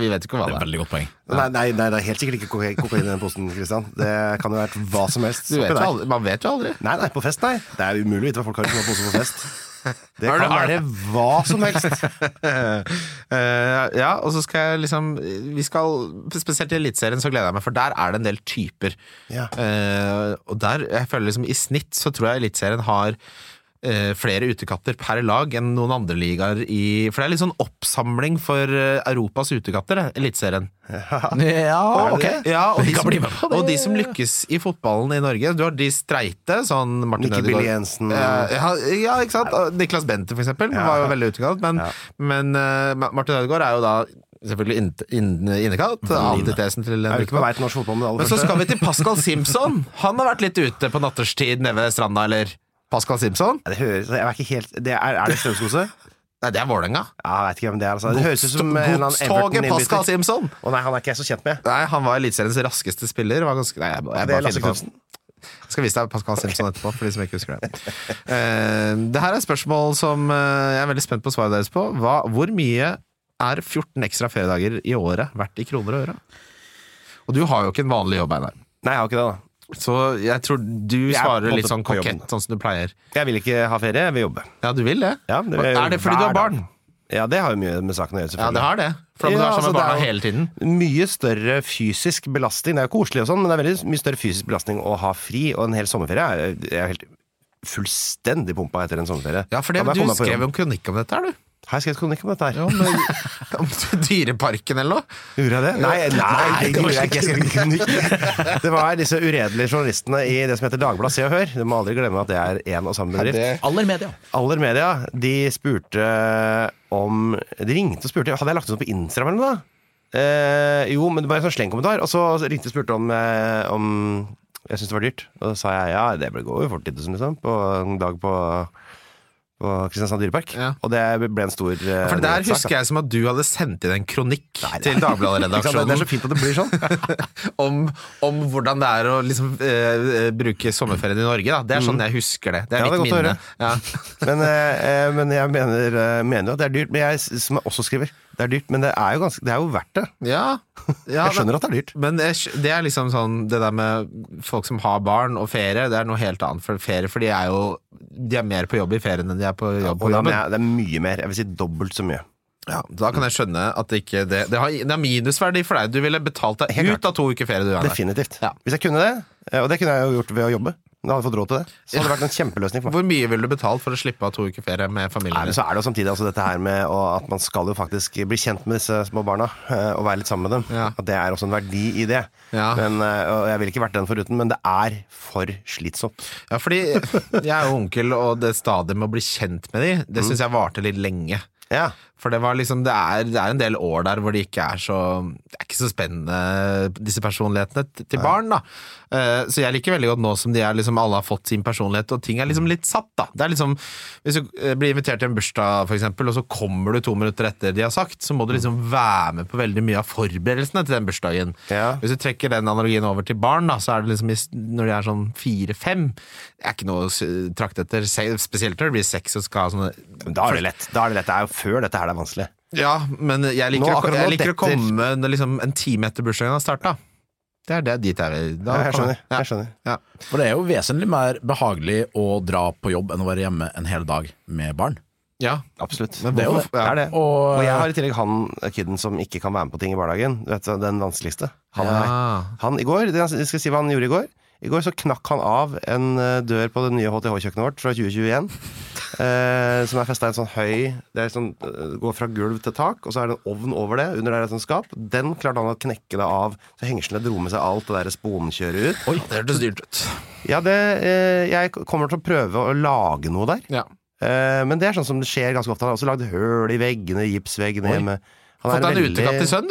S1: Vi vet ikke hva det
S2: Det er et
S1: er.
S2: veldig godt poeng.
S3: Nei, nei, nei, det er helt sikkert ikke kokain, kokain i den posen, Christian. Det kan jo ha vært hva som helst.
S1: Du vet
S3: oppi
S1: jo
S3: der.
S1: aldri, man vet jo aldri.
S3: Nei, nei, på fest, nei. Det er umulig å vite hva folk har i sine poser på fest. Det
S1: Er
S3: kan
S1: det- er
S3: være
S1: det-
S3: hva som (laughs) helst.
S1: Eh, ja, og så skal jeg liksom vi skal, Spesielt i Eliteserien så gleder jeg meg, for der er det en del typer.
S3: Ja.
S1: Eh, og der, jeg føler liksom I snitt så tror jeg Eliteserien har eh, flere utekatter per lag enn noen andre ligaer i For det er litt sånn oppsamling for eh, Europas utekatter, eh, Eliteserien.
S2: Ja, ok.
S1: Ja,
S2: (laughs)
S1: og,
S2: Vi
S1: de
S2: kan
S1: som,
S2: bli med på det.
S1: og de som lykkes i fotballen i Norge. Du har de streite, sånn Martin
S3: Nikki Billy Jensen.
S1: Eh, Ja, ja, ikke sant? Og Niklas Bente, for eksempel, var jo veldig utekalt. Men, men eh, Ma- Martin Ødegaard er jo da selvfølgelig inn- inn- innekalt. Antitesen til
S3: Jeg Mm. er
S1: en
S3: jo ikke på vei
S1: utekalt.
S3: til norsk fotball med det aller
S1: Men så
S3: første.
S1: skal vi til Pascal Simpson! Han har vært litt ute på natterstid nede ved stranda, eller? Pascal Simpson?
S3: Nei, Det høres, jeg er ikke helt det Er, er det Strømskose?
S1: Nei, det er Vålerenga.
S3: Ja, jeg vet ikke hvem det er. Altså. Det høres ut som en eller annen
S1: Godstoget Pascal
S3: Everton-innbytter.
S1: Simpson!
S3: Å nei, han er ikke jeg så kjent med.
S1: Nei, han var Eliteseriens raskeste spiller. Var ganske, nei, jeg, jeg,
S3: Det
S1: bare
S3: er Lasse
S1: finner på-
S3: Knutsen.
S1: Jeg skal vise deg Pascal Simpson etterpå, for de som ikke husker det. Eh, det her er spørsmål som eh, jeg er veldig spent på svaret deres på. Hva, hvor mye er 14 ekstra feriedager i året verdt i kroner og øre? Og du har jo ikke en vanlig jobb, Einar.
S3: Nei, jeg har ikke det, da.
S1: Så jeg tror du
S3: Jeg er på
S1: svarer
S3: en
S1: litt
S3: måte
S1: sånn
S3: på jobben.
S1: kokett, sånn som du pleier.
S3: Jeg vil ikke ha ferie, jeg vil jobbe.
S1: Ja, du vil det?
S3: Ja, det vil jeg
S1: er det fordi
S3: hver
S1: du har
S3: dag.
S1: barn?
S3: Ja, det har jo mye med saken å gjøre,
S1: Ja,
S3: selvfølgelig.
S1: det har det. For da må du
S3: Ja,
S1: være sammen med
S3: altså, det
S1: barna
S3: er jo-
S1: hele tiden.
S3: Mye større fysisk belastning. Det er jo koselig og sånn, men det er veldig mye større fysisk belastning å ha fri, og en hel sommerferie er jeg er helt fullstendig pumpa etter en sommerferie.
S1: Ja, for det,
S3: Da må jeg
S1: du
S3: komme meg på
S1: skrev
S3: jobb.
S1: jo en kronikk om dette her, du.
S3: Har jeg skrevet kronikk om dette her?
S1: Om, (laughs) om Dyreparken eller noe.
S3: Gjorde jeg det? Nei, nei, det
S1: var
S3: gjorde jeg ikke. Jeg skrev ikke kronikk. Det var disse uredelige journalistene i det som heter Dagbladet Se og Hør. Du må aldri glemme at det er én og samme bedrift.
S2: Aller media.
S3: Aller Media, de spurte om De ringte og spurte Hadde jeg lagt ut noe på Instagram eller noe? da? Eh, jo, men det var en sånn slengkommentar. Og så ringte og spurte om, eh, om jeg syntes det var dyrt. Og da sa jeg ja, det ble går jo fort 10 000, liksom, på en dag på, på Kristiansand dyrepark.
S1: Ja.
S3: Og det ble en stor eh,
S1: For der
S3: nyhetssak,
S1: husker jeg som at du hadde sendt inn en kronikk til (laughs)
S3: da. Ikke sant? Det
S1: Dagbladet-redaksjonen.
S3: er så fint at det blir sånn.
S1: liksom (laughs) om, om hvordan det er å liksom, eh, eh, bruke sommerferien i Norge. Da. Det er sånn jeg husker det. Det er
S3: Ja, det
S1: mitt
S3: er godt å
S1: minne.
S3: høre.
S1: Ja.
S3: Men, eh, eh, men jeg mener, eh, mener jo at det er dyrt. Men jeg, s- som jeg også skriver, det er dyrt, men det er jo, ganske, det er jo verdt det.
S1: (laughs) Ja. Ja,
S3: Jeg skjønner at det er dyrt.
S1: Men jeg skj- det er liksom sånn Det der med folk som har barn og ferie, det er noe helt annet for ferie, for de er jo De er mer på jobb i ferien enn de er på jobb på
S3: Og da
S1: jobben.
S3: mener jeg, det er mye mer. Jeg vil si dobbelt så mye.
S1: Ja, da kan jeg skjønne at det ikke Det, det, har, det har minusverdi for deg. Du ville betalt deg
S3: Helt
S1: ut av to uker ferie. Du, Einar.
S3: Definitivt.
S1: Ja.
S3: Hvis jeg kunne det, eh, og det kunne jeg jo gjort ved å jobbe, da hadde jeg fått råd til det, så hadde det vært en kjempeløsning for meg.
S1: Hvor mye ville du betalt for å slippe av to uker ferie med
S3: Nei,
S1: familien?
S3: men
S1: din?
S3: så er det jo samtidig altså dette her med å- at man skal jo faktisk bli kjent med disse små barna, eh, og være litt sammen med dem.
S1: Ja.
S3: At det er også en verdi i det.
S1: Ja.
S3: Men, eh, og jeg ville ikke vært den foruten, men det er for slitsomt.
S1: Ja, fordi jeg er jo onkel, og det stadiet med å bli kjent med de, det syns jeg varte litt lenge.
S3: Ja.
S1: For det, var liksom, det, er, det er en del år der hvor det ikke er så Det er ikke så spennende, disse personlighetene t- til barn. da Eh, Så jeg liker veldig godt nå som de er liksom, alle har fått sin personlighet, og ting er liksom litt satt. da Det er liksom Hvis du eh, blir invitert til en bursdag, for eksempel, og så kommer du to minutter etter de har sagt, så må du liksom
S3: Mm.
S1: være med på veldig mye av forberedelsene til den bursdagen.
S3: Ja.
S1: Hvis du trekker den analogien over til barn, da, så er det liksom i s- når de er sånn fire-fem Det er ikke noe å s- trakte etter, se- spesielt når de blir seks og skal ha sånne
S3: Men da er det lett. Da er det lett. Det er jo før dette her det er vanskelig.
S1: ja, men jeg liker,
S3: Nå
S1: å-
S3: akkurat nå
S1: jeg liker å
S3: detter-
S1: komme når liksom, en time etter bursdagen har starta. Det er det dit jeg vil. Da
S3: Ja, jeg
S1: kommer-
S3: skjønner. Jeg skjønner.
S1: Ja.
S2: For det er jo vesentlig mer behagelig å dra på jobb enn å være hjemme en hel dag med barn.
S1: ja.
S3: Absolutt.
S1: Men
S2: Det er jo
S1: hvorfor-
S2: det.
S1: ja.
S3: Det er det.
S2: Og,
S3: Og jeg har i tillegg han kiden som ikke kan være med på ting i hverdagen. Du vet, den vanskeligste. Han er meg.
S1: Ja.
S3: Han i går, det jeg skal si hva han gjorde i går I går så knakk han av en eh, dør på det nye HTH-kjøkkenet vårt fra 2021 eh, Som er festet i en sånn høy Det er sånn, eh, går fra gulv til tak Og så er det en ovn over det, under der er det sånn skap Den klarte han å knekke det av Så hengslene dro med seg alt det der sponkjøret ut
S1: Oi, det hørtes dyrt ut.
S3: Ja, det, eh, jeg kommer til å prøve å lage noe der
S1: Ja.
S3: eh, Men det er sånn som det skjer ganske ofte Han har også lagd høl i veggene, gipsveggene
S1: Oi.
S3: hjemme Han
S1: Fått
S3: er
S1: deg en utekatt til
S3: (laughs)
S1: sønn?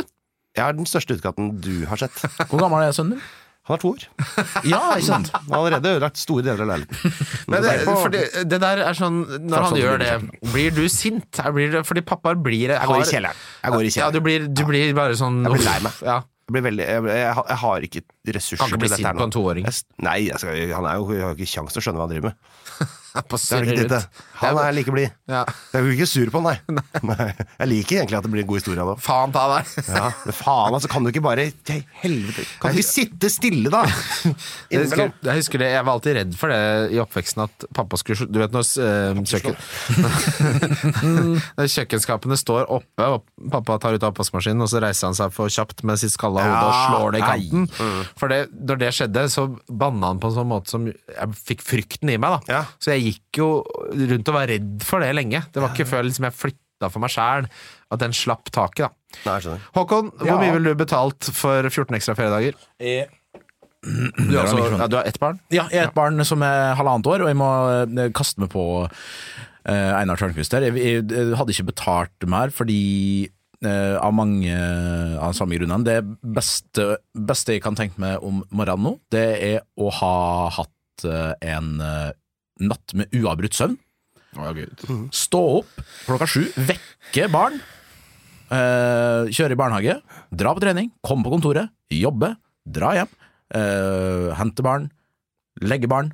S3: Ja, den største utekatten du har sett
S2: eh, hvor gammel er sønnen din?
S3: Han har to år
S2: Ja, ikke sant?
S3: Han har allerede ødelagt store deler av leiligheten.
S1: Men det,
S3: Derfor-
S1: fordi, det der er sånn Når han
S3: Fortsatt
S1: gjør
S3: blir
S1: det, blir du sint? Er- Blir, det- fordi pappaer blir Jeg
S3: går i kjelleren. Jeg går i kjelleren.
S1: Ja, du blir, du blir bare sånn
S3: Jeg blir lei meg. (laughs)
S1: Ja.
S3: jeg, blir veldig, jeg, jeg, har- jeg har ikke ressurser
S1: Kan ikke bli
S3: til dette
S1: sint
S3: her
S1: på en
S3: nå.
S1: toåring.
S3: Jeg s- Nei, jeg, skal, han er jo, jeg har jo ikke kjangs til å skjønne hva han driver med.
S1: På
S3: Det er det ikke
S1: surrer
S3: dette.
S1: ut.
S3: Han er like blid.
S1: Ja.
S3: Jeg blir ikke sur på
S1: (laughs)
S3: han, nei. nei. Jeg liker egentlig at det blir en god historie av det.
S1: Faen ta
S3: (laughs)
S1: deg.
S3: Ja, men faen, altså, kan du ikke bare til helvete, Kan du ikke sitte
S1: (laughs)
S3: stille, da?
S1: Jeg husker,
S3: Innimellom.
S1: jeg husker det, jeg var alltid redd for det i oppveksten at pappa skulle Du vet når eh, kjøkken, (laughs) når kjøkkenskapene står oppe, og pappa tar ut oppvaskmaskinen, og så reiser han seg for kjapt med sitt skalla hode og
S3: Ja,
S1: slår det i
S3: nei. Mm.
S1: kanten. For det, når det skjedde, så banna han på en sånn måte som Jeg fikk frykten i meg, da.
S3: Ja.
S1: Så jeg gikk jo rundt og var redd for det lenge. Det var ikke før liksom, jeg flytta for meg sjæl at den slapp taket, da.
S3: Nei, jeg skjønner.
S1: Håkon, hvor
S2: Ja.
S1: mye ville du betalt for 14 ekstra feriedager?
S2: Jeg-
S1: Du, har
S2: mye
S1: altså,
S2: kroner.
S1: ja, du har ett barn?
S2: Eh, Ja, jeg er et barn som er halvannet år, og jeg må eh, kaste meg på eh, Einar Tørnquist her. Jeg, jeg, eh, hadde ikke betalt mer, fordi eh, av mange eh, av de samme grunnene. Det beste, beste jeg kan tenke meg om morgenen nå, det er å ha hatt eh, en eh, natt med uavbrutt søvn.
S1: Å, Gud.
S2: Stå opp klokka sju, vekke barn, eh, kjøre i barnehage, dra på trening, komme på kontoret, jobbe, dra hjem, eh, hente barn, legge barn,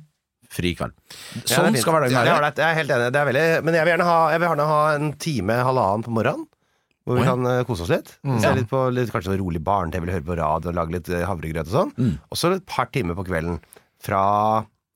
S2: fri kveld.
S3: Ja, det er
S2: Sånn
S3: fint.
S2: skal hverdagen
S3: Ja, det er
S2: være.
S3: ålreit. jeg er helt enig. Det er veldig, men jeg vil gjerne ha, jeg vil gjerne ha en time, halvannen på morgenen. Hvor vi
S2: Oi.
S3: kan eh, kose oss litt.
S1: Mm.
S3: Se litt på litt, kanskje sånn rolig barne-TV, eller høre på radio og lage litt eh, havregrøt og sånn.
S1: Mm.
S3: Og så et par timer på kvelden. Fra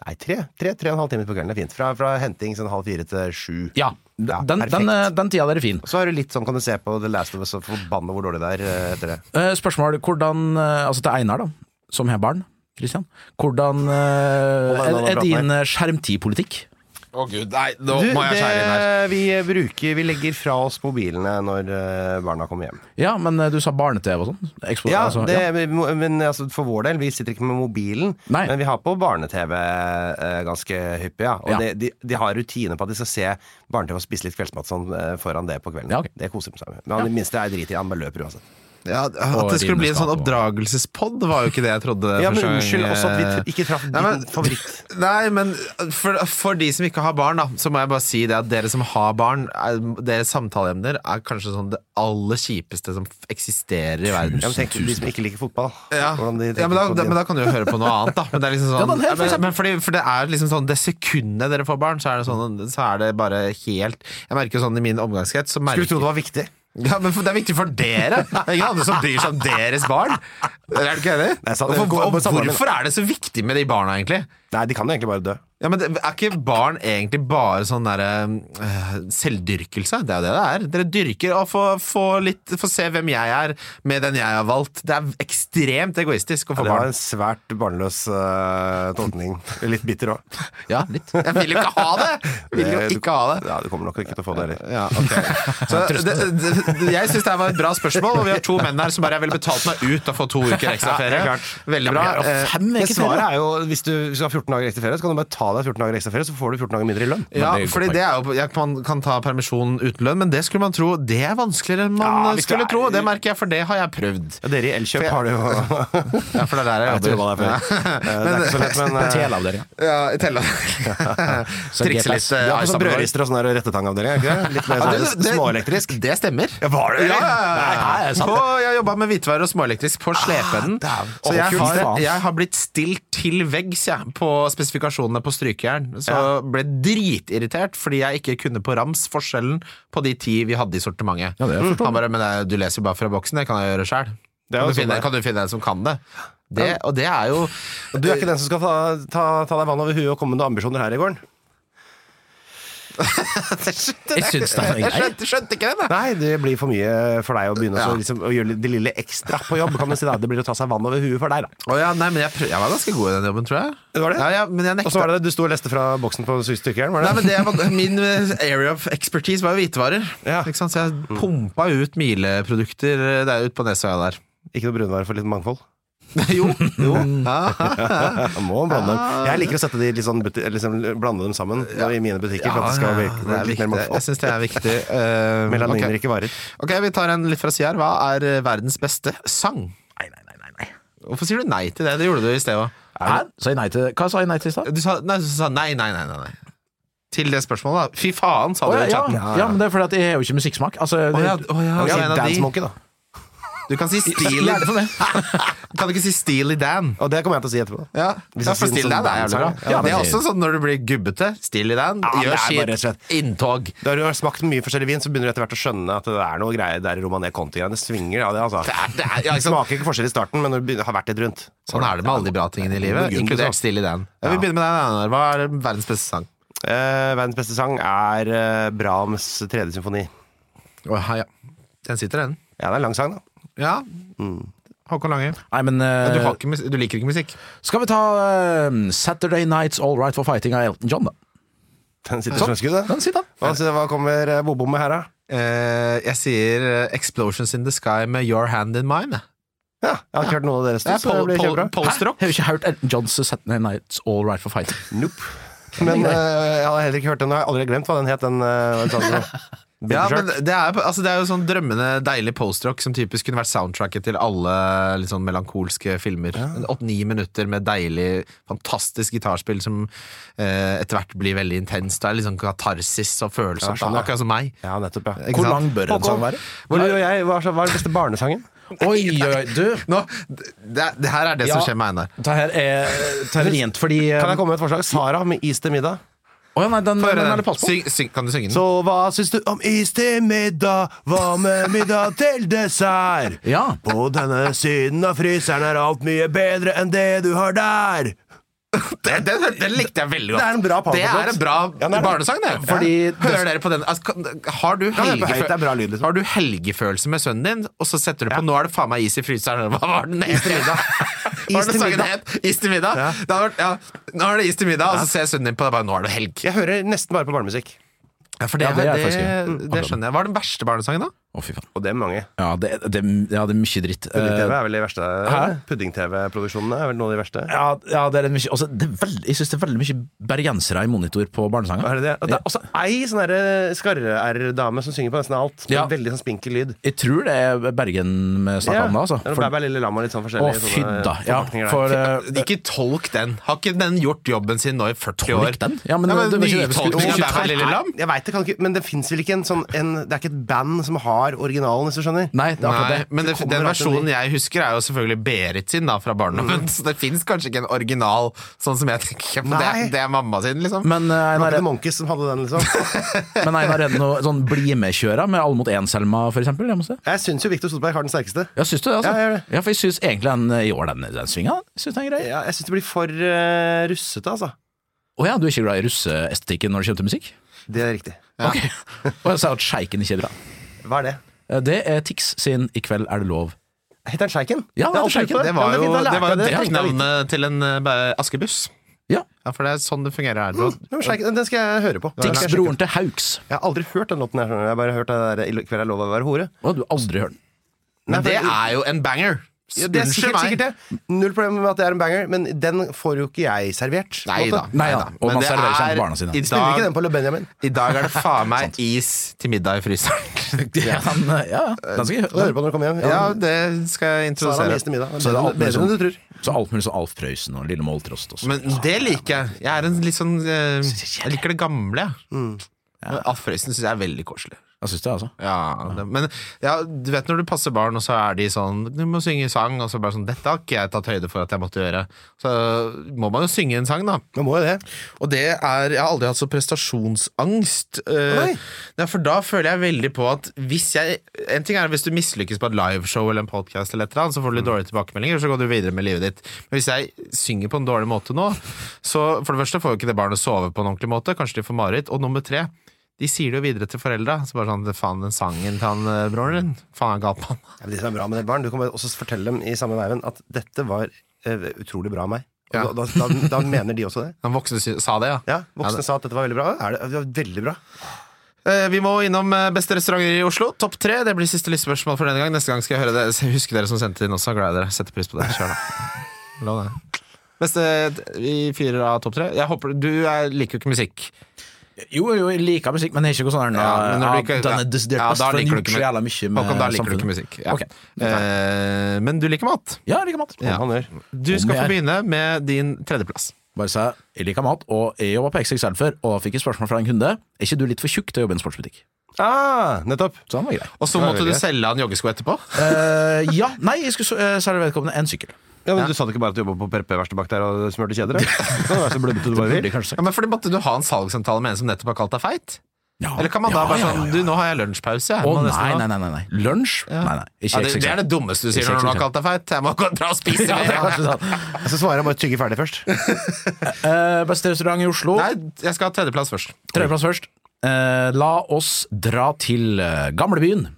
S3: Nei, tre. Tre, tre og en halv time på kvelden er fint. Fra, fra henting sånn halv fire til sju.
S2: Ja,
S3: Ja,
S2: den, den, eh,
S3: perfekt.
S2: den tida der er fin.
S3: Og Så har du litt sånn, kan du se på The Last of Us og forbanne hvor dårlig det er eh, etter det.
S2: Eh, spørsmål hvordan, eh, altså til Einar, da, som har barn. Christian, hvordan eh,
S3: Hold
S2: er,
S3: deg unna den
S2: er
S3: praten
S2: din eh, skjermtidpolitikk?
S1: Å gud, nei, nå
S3: Du,
S1: må jeg skjære inn her.
S3: det, vi bruker Vi legger fra oss mobilene når eh, barna kommer hjem.
S2: Ja, men eh, du sa barne-TV og sånn. Expo-
S3: Ja,
S2: altså,
S3: det,
S2: ja.
S3: men- men altså, for vår del, vi sitter ikke med mobilen,
S2: Nei.
S3: men vi har på barne-TV eh, ganske hyppig, ja. Og
S2: Ja.
S3: De, de, de har rutine på at de skal se barne-TV og spise litt kveldsmat sånn, eh, foran det på kvelden.
S2: Ja, ok.
S3: Det koser de seg med. Men han- det minste er drit i, han bare løper uansett.
S1: Ja, at
S2: Og
S1: det skulle bli en sånn
S2: rimeskap og-
S1: oppdragelsespod, var jo ikke det jeg trodde.
S3: Ja, men
S1: første gang,
S3: unnskyld også at vi
S1: eh,
S3: tr- ikke traff
S1: Nei, men-
S3: din favoritt.
S1: Nei, men for, for de som ikke har barn, da, så må jeg bare si det at dere som har barn, er, deres samtaleemner er kanskje sånn det aller kjipeste som f- eksisterer i verden.
S3: Ja, men tenk de som ikke liker fotball.
S1: Ja.
S3: Hvordan de tenker
S1: ja, men, da,
S3: på
S1: da,
S3: det.
S1: men da kan du jo høre på noe annet, da. Men det er liksom sånn,
S2: Ja, den her, for
S1: men,
S2: eksempel.
S1: men fordi, for det er liksom sånn det sekundet dere får barn, så er det, sånn, så er det bare helt Jeg merker jo sånn i min omgangskrets så merker-
S3: Skulle tro det var viktig.
S1: Ja, men for- Det er viktig for dere! Det er ingen andre som bryr seg om deres barn. Er du ikke enig?
S3: Nei, sant.
S1: og for, og
S3: Men samboeren min-
S1: hvorfor er det så viktig med de barna, egentlig?
S3: Nei, de kan jo egentlig bare dø.
S1: Ja, men det, Er ikke barn egentlig bare sånn derre øh, selvdyrkelse? Det er jo det det er. Dere dyrker og får få litt Få se hvem jeg er med den jeg har valgt. Det er ekstremt egoistisk å
S3: Ja,
S1: få
S3: det var
S1: barn.
S3: en svært barnløs eh, tolkning. Litt bitter òg.
S1: Ja, litt. Jeg vil jo ikke ha det! Jeg vil jo ikke ha det.
S3: Ja, du kommer nok ikke til å få det heller.
S1: Ja, ok så, det, det, det, Jeg synes det her var et bra spørsmål Og vi har to menn her som bare Jeg ville betalt meg ut Og få to uker ekstra
S3: Ja, det er
S1: ferie
S3: klart.
S1: Veldig bra
S2: Ja, men jeg har fem
S3: Men
S2: uker ferie,
S3: svaret er jo, hvis du, hvis du har 14 dager ekte ferie, så kan du bare ta deg 14 dager ekstra ferie, så får du 14 dager mindre i lønn.
S1: Ja,
S2: det er et godt
S1: fordi
S2: poeng.
S1: det er jo, jeg, Man kan ta permisjon uten lønn, men det skulle man tro Det er vanskeligere enn man
S3: Ja, hvis
S1: skulle
S3: det er-
S1: tro. Det merker jeg, for det har jeg prøvd.
S3: Ja, dere i Elkjøp
S1: For jeg-
S3: har (laughs) det jo
S1: Ja, for det er der jeg
S3: Jeg
S1: jobber.
S3: tulla der før. Eh, Det er ikke så
S2: (laughs)
S3: lett, men eh,
S2: Teleavdelinga.
S1: (laughs) Ja, i tella.
S2: Så
S1: Trikse litt.
S2: G-klass.
S1: eh, i
S3: Vi har ikke sånn
S1: sammenheng.
S3: brødrister og sånn der rettetangavdeling, er det ikke det? Litt mer
S1: Ja,
S3: sånn
S1: det- det-
S3: småelektrisk.
S1: Det stemmer.
S3: Ja, var det det?
S1: Ja, ja, ja, ja.
S2: Nei, det er sant, det.
S1: På, jeg jobba med hvitvarer og småelektrisk på slepeenden.
S2: dæven.
S1: så
S2: Å,
S1: jeg
S2: fy
S1: har,
S2: faen.
S1: jeg har blitt stilt til veggs jeg, på spesifikasjonene på strykejern. Så ble dritirritert fordi jeg ikke kunne på rams forskjellen på de ti vi hadde i sortimentet.
S2: Ja, det er forståelig.
S1: Han bare, men det, er- du leser jo bare fra boksen, det kan jeg gjøre sjæl.
S3: Det
S1: Kan,
S3: er jo
S1: du
S3: sånn
S1: finne-
S3: det er.
S1: kan du finne en som kan det? det og det er jo
S3: Du er ikke den som skal ta, ta, ta deg vann over huet og komme med noen ambisjoner her i gården?
S2: Jeg syns det er
S1: Jeg
S2: greit.
S1: skjønte, skjønte ikke den, jeg.
S3: Nei, det blir for mye for deg å begynne å så liksom, å gjøre det lille ekstra på jobb. Kan du si da, Det blir å ta seg vann over huet for deg, da.
S1: Å ja, nei, men jeg, prøv, jeg var ganske god i den jobben, tror jeg.
S3: Det var det?
S1: Ja, ja, men jeg
S3: Og
S1: nekta
S3: så var det det du sto og leste fra boksen på stykkejern, var
S1: Nei,
S3: det?
S1: men det var, Min eh, area of expertise var jo hvitevarer.
S3: Ja.
S1: Ikke sant? Så jeg pumpa ut mileprodukter eh, der ute på Nesøya der.
S3: Ikke noe brunvare for litt mangfold?
S1: jo. (laughs) jo. Ja.
S3: (laughs) Jeg må blande dem. Jeg liker å sette de litt sånn buti- eller liksom blande dem sammen i mine butikker. for at det skal
S1: ja,
S3: virke,
S1: det er
S3: litt
S1: viktig.
S3: mer
S1: Jeg
S3: mangfold.
S1: syns
S3: (laughs)
S1: det er viktig. Eh,
S3: Melaniner
S1: ok.
S3: ikke varer.
S1: ok, vi tar en litt fra sida her. Hva er eh, verdens beste sang?
S2: Nei, nei, nei, nei, nei.
S1: Hvorfor sier du nei til det? Det gjorde du i sted òg.
S2: Hæ? Sa jeg nei til Hva sa jeg nei til i stad?
S1: Du sa nei, du sa nei, nei, nei, nei, nei. Til det spørsmålet, da. Fy faen, sa
S2: Å,
S1: du
S2: ja,
S1: i
S2: ja,
S1: chatten.
S2: ja, men det er fordi at jeg har jo ikke musikksmak. Altså,
S1: Å, ja,
S2: det-
S1: å, ja, ok,
S3: Jeg
S1: en
S3: vil si
S1: av
S3: Dance
S1: de.
S3: Monkey, da.
S1: Du kan si Steely
S2: Gjerne for meg.
S1: Kan (laughs) du ikke si Steely Dan?
S3: Og det kommer jeg til å si etterpå.
S1: Ja,
S3: Hvis
S1: ja
S3: jeg
S1: for
S3: sier
S1: Still
S3: noe
S1: Dan er jævlig
S3: sånn
S1: bra.
S3: dans,
S2: ja.
S1: Ja, det er
S2: men-
S1: også sånn når du blir gubbete. Still Dan,
S3: men det
S1: gjør
S3: er bare rett og
S1: sitt.
S3: slett-
S1: Inntog.
S3: Da har du smakt mye forskjellig vin, så begynner du etter hvert å skjønne at det er noe greier der i Romané Conti-greiene. Det svinger av det,
S1: Det
S3: altså.
S1: er, det er, ja, ikke sant?
S3: Smaker ikke forskjell i starten, men når du begynner- har vært litt rundt.
S1: Sånn er det med alle de bra tingene i livet,
S3: Gud,
S1: inkludert
S3: så.
S1: Still Dan. Ja, vi begynner med deg, Einar. Hva er verdens beste sang?
S3: Eh, verdens beste sang er eh, Brahms tredje symfoni.
S1: Den sitter, den.
S3: Ja, det er en lang sang, da.
S1: Ja. Håkon Lange.
S2: Nei, men eh,
S1: Du, har ikke mus- du liker ikke musikk?
S2: Skal vi ta eh, Saturday Nights All Right for Fighting av Elton John, da?
S3: Den
S1: Sånn.
S3: sitter som en skudd, den.
S2: Den sitter.
S3: Hva, så hva kommer eh, Bobo med her, da?
S1: Eh, jeg sier eh, 'Explosions In The Sky' med 'Your Hand In Mine'. jeg.
S3: Ja, jeg har ikke hørt noe av deres.
S1: Det er
S3: så det
S1: pol-
S3: blir
S1: pol-
S3: kjempebra.
S2: Hæ?
S1: polstrock.
S2: Jeg har jo ikke hørt Elton Johns Saturday Nights All Right for Fighting.
S3: (laughs) Nope. Men eh, jeg har heller ikke hørt den, og jeg har aldri glemt hva den het. Den, eh, den (laughs) sangen. Big
S1: Ja, men
S3: Shark.
S1: det er, altså, det er jo sånn drømmende deilig postrock som typisk kunne vært soundtracket til alle litt sånn melankolske filmer. En Åtte-ni minutter med deilig, fantastisk gitarspill som eh, etter hvert blir veldig intenst. Det er litt sånn katarsis og følelser.
S3: Ja, skjønner jeg.
S1: akkurat som meg.
S3: ja, nettopp, ja.
S1: Ikke
S2: Hvor
S1: sant?
S2: lang bør en
S3: Håkon,
S2: sang være?
S3: Hvor, du og jeg, hva, er- hva er den beste barnesangen?
S2: Oi, oi, oi, du.
S1: Nå, det, det her er det som
S2: Ja.
S1: skjer med Einar.
S2: Det her er, det her er rent fordi eh,
S3: Kan jeg komme med et forslag? Sara med Is til middag.
S2: Å ja, nei, den,
S1: Få
S2: den,
S1: høre
S2: er
S1: den.
S2: det pass på.
S1: Syng, syng, kan du synge den?
S3: Så hva syns du om is til middag? Hva med middag til dessert?
S2: Ja.
S3: På denne siden av fryseren er alt mye bedre enn det du har der.
S1: den, den, den likte jeg veldig godt.
S3: Det er en bra
S1: Det
S3: powerpoint.
S1: er en bra
S3: Ja, det er det.
S1: barnesang, det.
S2: Fordi-
S1: Hører dere på den altså, kan- Har du,
S3: høre på høyt,
S1: helgefø-
S3: det er bra lyd, liksom.
S1: har du helgefølelse med sønnen din, og så setter du på 'Nå er det faen meg is i fryseren'? Hva var den is til (laughs) middag? Hva
S3: Is
S1: var
S3: til
S1: det sangen
S3: middag.
S1: het? Is til middag?
S3: Ja.
S1: Det hadde vært, ja, nå er det is til middag, og så ser sønnen din på det bare 'Nå er det helg'.
S3: Jeg hører nesten bare på barnemusikk.
S1: Ja, for det,
S2: Ja, det er jeg
S1: det,
S2: faktisk
S1: det, skjønner jeg. Hva er den verste barnesangen, da?
S2: Å, fy faen.
S3: Og det er mange.
S2: Ja, det, det, ja, det er mye dritt.
S3: Pudding-TV
S2: Eh,
S3: er vel de verste.
S2: Hæ?
S3: Pudding-TV-produksjonene er vel noe av de verste.
S2: ja, ja, det er en mye, altså, det er veld, jeg syns det er veldig mye bergensere i monitor på barnesanger.
S3: Er det det? Og det er også ei sånn derre skarre-r-dame som synger på nesten alt. Med
S2: Ja.
S3: Veldig sånn spinkel lyd.
S2: Jeg tror det er Bergen vi snakker om da, altså.
S3: Det er noe
S2: For,
S3: Bæ Bæ Lille Lam og litt sånn
S2: å,
S3: forskjellig.
S2: fy da. Ja, for eh,
S1: Ikke tolk den. Har ikke den gjort jobben sin nå i 40 år?
S2: Tolk den? Ja, men det var ikke det vi skulle-
S1: nytolkning av
S2: Jo,
S1: Bæ Bæ
S2: det er-
S1: Lille Lam?
S3: Jeg vet det kan ikke, men det fins vel ikke en sånn en, Det er ikke et band som har originalen, hvis du skjønner?
S2: Nei, det er akkurat
S1: Nei,
S2: det.
S1: men det,
S3: Det kommer
S1: den
S3: alltid
S1: versjonen
S3: en Mm.
S1: jeg husker, er jo selvfølgelig Berit sin da, fra barndommen. Så det fins kanskje ikke en original sånn som jeg tenker på. Det er,
S3: Nei.
S1: det er mamma sin, liksom.
S2: Men eh,
S3: Det var
S2: Einar,
S3: ikke The Monkeys som hadde den, liksom.
S2: (laughs) men Einar er det noe sånn bli med-kjøra med Alle mot én-Selma, for eksempel? Jeg må se.
S3: Jeg syns jo Victor Solberg har den sterkeste.
S2: Ja, syns du det, altså?
S3: Ja, jeg gjør det.
S2: Ja, for jeg syns egentlig den eh, i år, den, den svinga, syns den er grei. Å ja.
S3: Ja, jeg syns det blir for eh, russete, altså.
S2: du er ikke glad i russeestetikken når det kommer til musikk?
S3: Det er riktig.
S2: Ok. Og jeg sa at sjeiken ikke er bra.
S3: Hva er det?
S2: Eh, Det er Tix sin I kveld er det lov.
S3: Heter den Sjeiken?
S2: Ja,
S3: Jeg har
S2: det er
S3: aldri hørt på
S2: Sjeiken.
S1: Det var
S3: Ja, men
S1: jo,
S3: fint, da lærte
S1: det var jo
S3: jeg det. Tenkte jeg litt.
S1: drettnavnet til en eh, bæ- askebuss.
S2: Ja.
S1: Ja, for det er sånn det fungerer her.
S3: Mm. Ja, men Sjeiken, Den skal jeg høre på.
S2: Tix,
S3: Jeg
S2: broren til Hauks.
S3: har aldri hørt den låten. her, skjønner du. Jeg har bare hørt det der I kveld er lov å være hore.
S2: Å, du har aldri hørt den.
S1: Men
S3: Nei,
S1: det
S3: for-
S1: er jo en banger.
S3: Ja, det er
S1: Unnskyld
S3: sikkert,
S1: meg.
S3: sikkert det. Null problem med at det er en banger, men den får jo ikke jeg servert. på en
S1: Nei
S3: måte.
S1: da.
S2: Nei da. Og
S1: Men
S2: man
S1: det
S2: serverer seg
S1: er-
S2: til barna sine.
S1: I
S3: Spiller ikke den
S1: dag,
S3: på Le Benjamin.
S1: I dag er det
S3: (laughs)
S1: faen meg is til middag i fryseren.
S2: (laughs) Ja, den, eh, ja,
S1: Eh,
S2: den skal jeg
S3: Du hører
S2: høre.
S3: på når du kommer hjem.
S1: Ja, det skal jeg
S3: så er
S1: introdusere.
S3: det neste middag.
S2: Så er det alt mulig
S3: bedre enn du tror.
S2: sånn så alt mulig sånn Alf Prøysen og Lille Måltrost også.
S1: Men det liker jeg. Jeg er en litt sånn eh, Jeg liker det Mm. gamle. jeg. Men Alf Prøysen syns jeg er veldig koselig.
S2: Jeg syns det, altså.
S1: Ja, det, men ja, du vet når du passer barn, og så er de sånn Du må synge sang, og så bare sånn Dette har ikke jeg tatt høyde for at jeg måtte gjøre. Så må man jo synge en sang, da.
S3: Man må jo det.
S1: Og det er Jeg har aldri hatt så prestasjonsangst.
S3: Å,
S1: Eh,
S3: nei.
S1: ja, for da føler jeg veldig på at hvis jeg En ting er hvis du mislykkes på et liveshow eller en podcast eller et eller annet, så får du litt dårlige tilbakemeldinger, og så går du videre med livet ditt. Men hvis jeg synger på en dårlig måte nå, så for det første får jo ikke det barnet sove på en ordentlig måte, kanskje de får mareritt. Og nummer tre de sier det jo videre til foreldra. Så bare sånn Faen, den sangen til han eh, broren din. Faen, han er gal på han.
S3: Ja, men det som er bra med det barn, du kan bare også fortelle dem i samme veiven at dette var eh, utrolig bra av meg. Og
S1: Ja.
S3: da, da, da, da mener de også det.
S1: Han voksne sy- sa det, ja.
S3: Ja, Voksne
S1: det-
S3: sa at dette var veldig bra. Er det, det var veldig bra.
S1: Eh, Vi må innom eh, beste restauranter i Oslo. Topp tre. Det blir siste lystspørsmål for denne gang. Neste gang skal jeg høre det. Så Husk dere som sendte inn også. Glad i dere. Setter pris på det. Kjør, da. (laughs) Lov det. Beste eh, i fire av topp tre. Jeg håper, du er, liker jo ikke musikk.
S2: Jo, jo, jeg liker musikk, men det er ikke noe sånn her,
S1: Ja, men når du
S2: ja,
S1: ikke-
S2: den er desidert
S1: Ja,
S2: best,
S1: da
S2: for den
S1: liker du
S2: gjør
S1: ikke
S2: så jævla
S1: musikk.
S2: mye med
S1: Håkon, da liker du ikke
S2: samfunnet.
S1: musikk. Ja.
S2: Ok.
S1: Eh, men du liker mat.
S2: Ja, jeg liker mat.
S1: Ja.
S3: Han gjør.
S1: Du
S2: Om
S1: skal
S2: jeg-
S1: få begynne med din tredjeplass.
S2: Bare sa jeg liker mat, og jeg jobba på XXL før, og da fikk jeg spørsmål fra en kunde. Er ikke du litt for tjukk til å jobbe i en sportsbutikk?
S3: Ah, nettopp.
S2: Så han var grei.
S1: Og så
S3: Ja,
S1: måtte du
S3: veldig.
S1: selge han joggesko etterpå.
S2: Eh, ja, (laughs) nei, jeg skulle uh, servere vedkommende en sykkel.
S3: Ja, men Du sa det ikke bare at du jobba på PRP-verkstedet bak der og smurte (laughs) kjeder? da? Det var så blødete du bare
S2: Burde
S3: vil.
S2: jeg
S1: Ja,
S2: kanskje sagt.
S1: men fordi Måtte du ha en salgssamtale med en som nettopp har kalt deg feit?
S2: Ja.
S1: Eller kan man da
S2: Ja,
S1: bare
S2: ja,
S1: sånn
S2: ja,
S1: Du, nå har jeg lunsjpause. jeg
S2: Å
S1: må nesten
S2: nei,
S1: ha-
S2: nei, nei, nei, nei. Lunsj? Nei, nei.
S1: Ja,
S2: Ikke
S1: det, det er
S2: XXL.
S1: det dummeste du sier
S2: Ikke
S1: når noen har
S2: XXL.
S1: kalt deg feit. Jeg må gå dra og spise
S2: Ja, det er
S1: mer.
S2: kanskje sant.
S3: Jeg skal svare, jeg bare tygge ferdig først.
S2: Eh, beste restaurant i Oslo.
S1: Nei, jeg skal ha tredjeplass først.
S2: Tredjeplass først. Eh, la oss dra til eh, gamlebyen.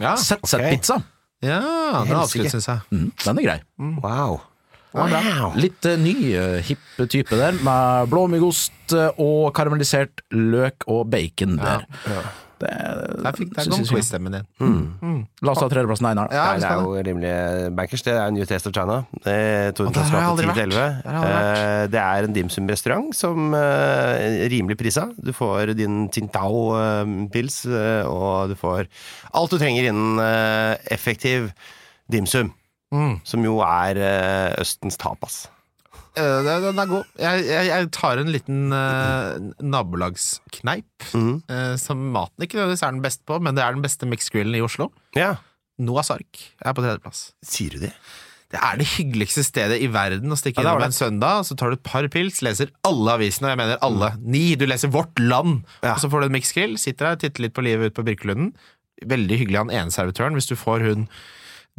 S1: Ja,
S2: Sett Sett pizza.
S1: ja den er
S3: Helsike.
S1: avslutt, syns jeg.
S2: Mm, den er grei.
S3: Wow.
S2: Litt eh, ny, eh, hipp type der, med blåmuggost eh, og karamellisert løk og bacon der. Det,
S1: Der fikk
S2: Synes
S1: jeg
S2: jeg-
S1: quiz-stemmen din.
S2: la oss ta tredjeplassen, Einar.
S1: Ja,
S3: Nei, det er jo rimelige bankers. Det er New Taste of China. Eh,
S1: Og der har jeg
S3: Tordenskapet
S1: aldri
S3: 10 til 11.
S1: vært. Der har jeg aldri
S3: Eh, det er en dimsum-restaurant som eh, er rimelig prisa. Du får din Tsingtao-pils, eh, og du får alt du trenger innen eh, effektiv dimsum.
S1: Mm.
S3: Som jo er eh, Østens tapas.
S1: Eh, den- den er god. Jeg, jeg, jeg tar en liten eh, nabolagskneip,
S3: Mhm.
S1: eh, som maten ikke nødvendigvis er den beste på, men det er den beste mixgrillen i Oslo.
S3: Ja,
S1: Noahs ark er på tredjeplass.
S3: sier du det?
S1: Det er det hyggeligste stedet i verden å stikke
S3: Ja, det
S1: innom
S3: var
S1: en søndag. Så tar du et par pils, leser alle avisene, og jeg mener alle. Ni! Du leser Vårt Land!
S3: Ja.
S1: Og så får du en miksgrill, sitter der, titter litt på livet ute på Birkelunden. Veldig hyggelig han ene servitøren. Hvis du får hun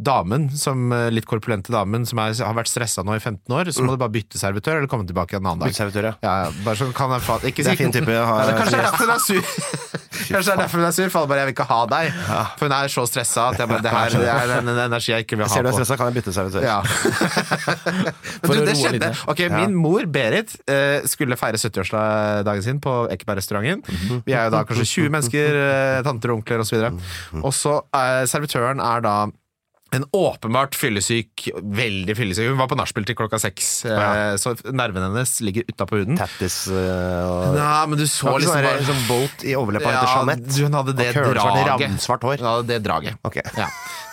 S1: damen, som eh, litt korpulente damen, som er, har vært stressa nå i 15 år,
S3: Mm.
S1: så må du bare bytte servitør, eller komme tilbake en annen dag.
S3: Uteservitør, ja.
S1: Ja, ja, bare sånn kan jeg fa- ikke
S3: Det
S1: si-
S3: er fin type å ha
S1: Ja, det kanskje det er
S3: som
S1: derfor hun er
S3: (laughs)
S1: sur. Kanskje det er derfor hun er sur, for alle bare 'jeg vil ikke ha deg'. For hun er så stressa at jeg bare, det her det er en, en energi jeg ikke vil ha
S3: Ser du er
S1: på.
S3: stressa, kan jeg bytte servitør.
S1: Ja. (laughs) Men
S2: å
S1: du,
S2: roe
S1: det
S2: litt
S1: skjedde.
S2: ned.
S1: Ok, Min mor, Berit, eh, skulle feire 70-årsdagen sin på Ekebergrestauranten. Vi er jo da kanskje 20 mennesker, eh, tanter og onkler osv. Og så eh, servitøren er da en åpenbart fyllesyk, veldig fyllesyk. Hun var på nachspiel til klokka seks, eh, så nervene hennes ligger utapå huden.
S3: Tattis eh, og
S1: Nei, men du
S3: Det
S1: så
S3: var ikke
S1: liksom
S3: sånn,
S1: bare
S3: der, sånn bolt i overleppa
S1: Ja,
S3: heter Jeanette.
S1: du- hun hadde det
S3: og curlsvart,
S1: draget.
S3: ramsvart hår.
S1: Hun hadde det draget.
S3: Ok.
S1: (laughs) Ja.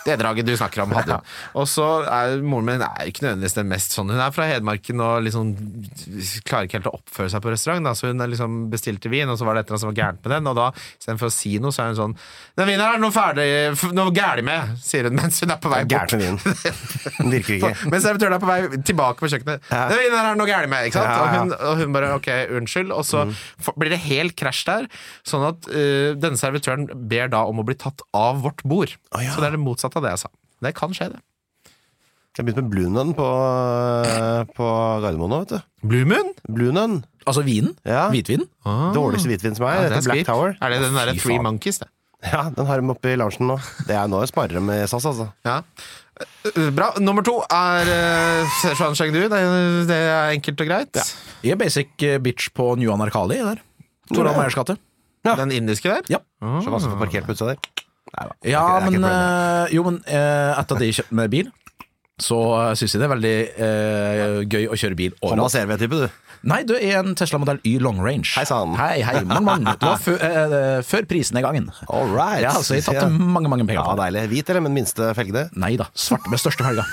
S1: Det draget du snakker om, hadde hun. Og så er moren min er ikke nødvendigvis den mest sånn. Hun er fra Hedmarken og liksom klarer ikke helt å oppføre seg på restaurant. Da. Så hun er liksom bestilte vin, og så var det et eller annet som var gærent med den. Og da, istedenfor å si noe, så er hun sånn Den vinen her er noe ferdig f- Noe gærlig med, sier hun mens hun er på vei bort.
S3: Gærent med
S1: (laughs)
S3: vinen. Den (laughs) virker ikke.
S1: Mens servitøren er på vei tilbake på kjøkkenet.
S3: Ja.
S1: Det er noe gærent med, ikke sant?
S3: Ja, ja.
S1: Og, hun, og hun bare ok, unnskyld. Og så f- blir det helt krasj der. Sånn at eh, denne servitøren ber da om å bli tatt av vårt bord.
S3: Å, ja.
S1: Så det er det motsatte av det jeg sa. Det kan skje, det.
S3: Jeg begynte med Blue Nun på, eh, på Gardermoen nå, vet du.
S1: Blue Moon?
S3: Blue Nun.
S2: Altså vinen.
S3: Ja.
S2: Hvitvinen.
S3: Dårligste hvitvin som er.
S1: Ah. Ja, det
S3: heter
S1: er
S3: Black
S1: skvip.
S3: Tower.
S1: Er det den derre
S2: fy
S1: Three
S2: faen.
S1: Monkeys, det?
S3: Ja, Den har de oppe i loungen nå. Det er nå jeg sparer med SAS, altså.
S1: Ja. Eh, Bra. Nummer to er eh, Sergeant Shangdu. Det, er- det er enkelt og greit.
S2: Jeg er basic eh, bitch på New Anarkali der. Toralv Meyers gate.
S1: Den indiske der.
S2: Ja.
S3: Så vanskelig å få parkert på utsida der. Neida, det er
S2: Ja,
S3: ikke- det er ikke
S2: men,
S3: et problem.
S2: eh, jo, men eh, etter at jeg kjøpte meg bil, så uh, syns jeg det er veldig eh, gøy å kjøre bil
S3: Honda
S2: overalt.
S3: CRV-type, du.
S2: Nei, du er en Tesla modell Y long range.
S3: Hei sann.
S2: Hei, hei, mann,
S3: (laughs)
S2: mann. Det var før, eh, før prisen i gangen.
S3: All right.
S2: Ja, så jeg tapte
S3: Ja. altså,
S2: mange, mange penger
S3: Ja,
S2: på det.
S3: deilig. Hvit eller med den minste felgene?
S2: Nei da, svarte med største
S3: (laughs)
S2: felga.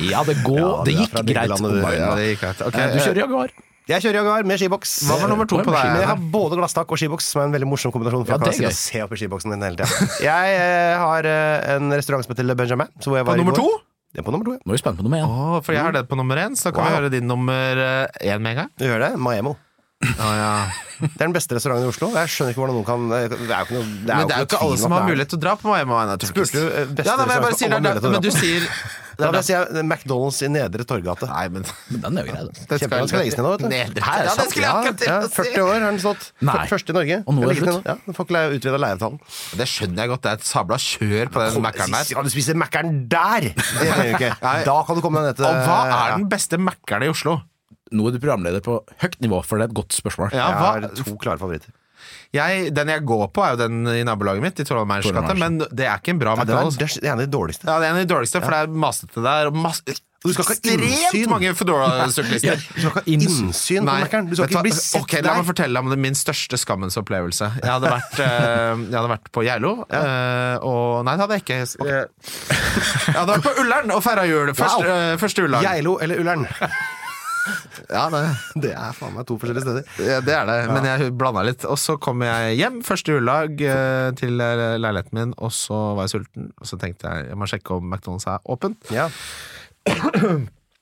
S2: ja, det går
S3: Ja,
S2: Det
S3: du er
S2: gikk
S3: fra
S2: greit.
S3: bygdelandet, du.
S2: om dagen,
S3: Ja,
S2: da.
S1: det gikk greit. Ok, eh,
S2: Eh, Du kjører Jaguar.
S3: Jeg kjører Jaguar med skiboks.
S1: Hva var nummer to
S2: Oi,
S1: på
S2: maskin.
S1: deg?
S3: Men jeg
S1: Einar?
S3: har både glasstak og skiboks, som er en veldig morsom kombinasjon. For
S2: Ja,
S3: jeg kan
S2: det er gøy.
S3: sitte og se opp i skiboksen din hele tiden. (laughs) Jeg eh, har eh, en restaurant som heter Le Benjamin. Hvor jeg var i
S1: nummer
S3: går.
S1: to?
S3: Det er på nummer to, ja. Mm.
S2: Nå er vi spent på nummer én.
S1: Å, for jeg har det på nummer én, så kan vi
S3: Wow.
S1: høre din nummer eh, én med en gang.
S3: Du hører det? Maemo.
S1: Å, ja.
S3: Det er den beste restauranten i Oslo. Jeg skjønner ikke hvordan noen kan eh, Det er jo ikke, noe, det er
S1: Men det er jo ikke alle som har
S3: mulighet
S1: mulighet til å dra på Miami. Einar, tror jeg
S3: Spurte du, eh, beste
S1: ja, nei, men jeg
S3: restaurant
S1: bare
S3: som
S1: sier det,
S3: alle
S1: er der-
S3: har mulighet til å
S1: Men du
S3: dra på. (laughs)
S1: sier
S3: Da vil jeg si eh, McDonald's i Nedre Torggate.
S1: Nei, (laughs) men
S2: Men Den er jo grei, den.
S1: den
S3: Kjempebra. Den skal legges ned nå, vet du.
S1: Nedre- Ja, det skulle jeg akkurat til
S3: Ja,
S1: å si.
S3: 40 år har den stått.
S2: Nei.
S3: Første i Norge.
S2: Og nå er det
S3: Legges ned
S2: slutt.
S3: nå. Ja, den får ikke leie- utvida leieavtalen.
S1: Det skjønner jeg godt. Det er et sabla kjør på den Mac-eren der.
S3: Kan du spise Mækkern der?! Det gjør du ikke.
S1: Nei.
S3: Da kan du komme deg ned til
S1: Og hva er
S3: ja.
S1: den beste Mac-eren i Oslo?
S2: Nå er du programleder på høyt nivå, for det er et godt spørsmål.
S1: Ja,
S3: Jeg har
S1: hva?
S3: to klare favoritter.
S1: Jeg, den jeg går på, er jo den i nabolaget mitt, i Trollheimerens
S2: Torgallmeiers.
S1: gate, men det er ikke en bra
S3: Ja, det, var,
S1: McDonald's.
S3: det er en av de dårligste.
S1: Ja, det er en av de dårligste, for det er masete der. Og mas
S3: du skal ikke ha innsyn.
S1: ekstremt mange
S3: (laughs)
S1: Foodora-syklister.
S3: Du skal ikke ha innsyn på Mækkern. Du skal
S1: vet
S3: ikke
S1: hva?
S3: bli sett
S1: Ok, La meg
S3: der.
S1: fortelle om det min største skammens opplevelse. Jeg hadde
S3: (laughs)
S1: vært, eh, jeg hadde vært på Geilo. eh, og Nei, det hadde jeg ikke. Eh, Jeg hadde vært på Ullern og feira jul. Første,
S3: Wow.
S1: eh, første Ullern.
S3: Geilo eller
S1: (laughs)
S3: Ullern?
S1: Ja, det,
S3: Det er faen meg to forskjellige steder.
S1: ja, det er det, men jeg blanda litt. Og så kom jeg hjem første juledag eh, til eh, leiligheten min, og så var jeg sulten. Og så tenkte jeg jeg må sjekke om McDonald's er åpent.
S3: Ja.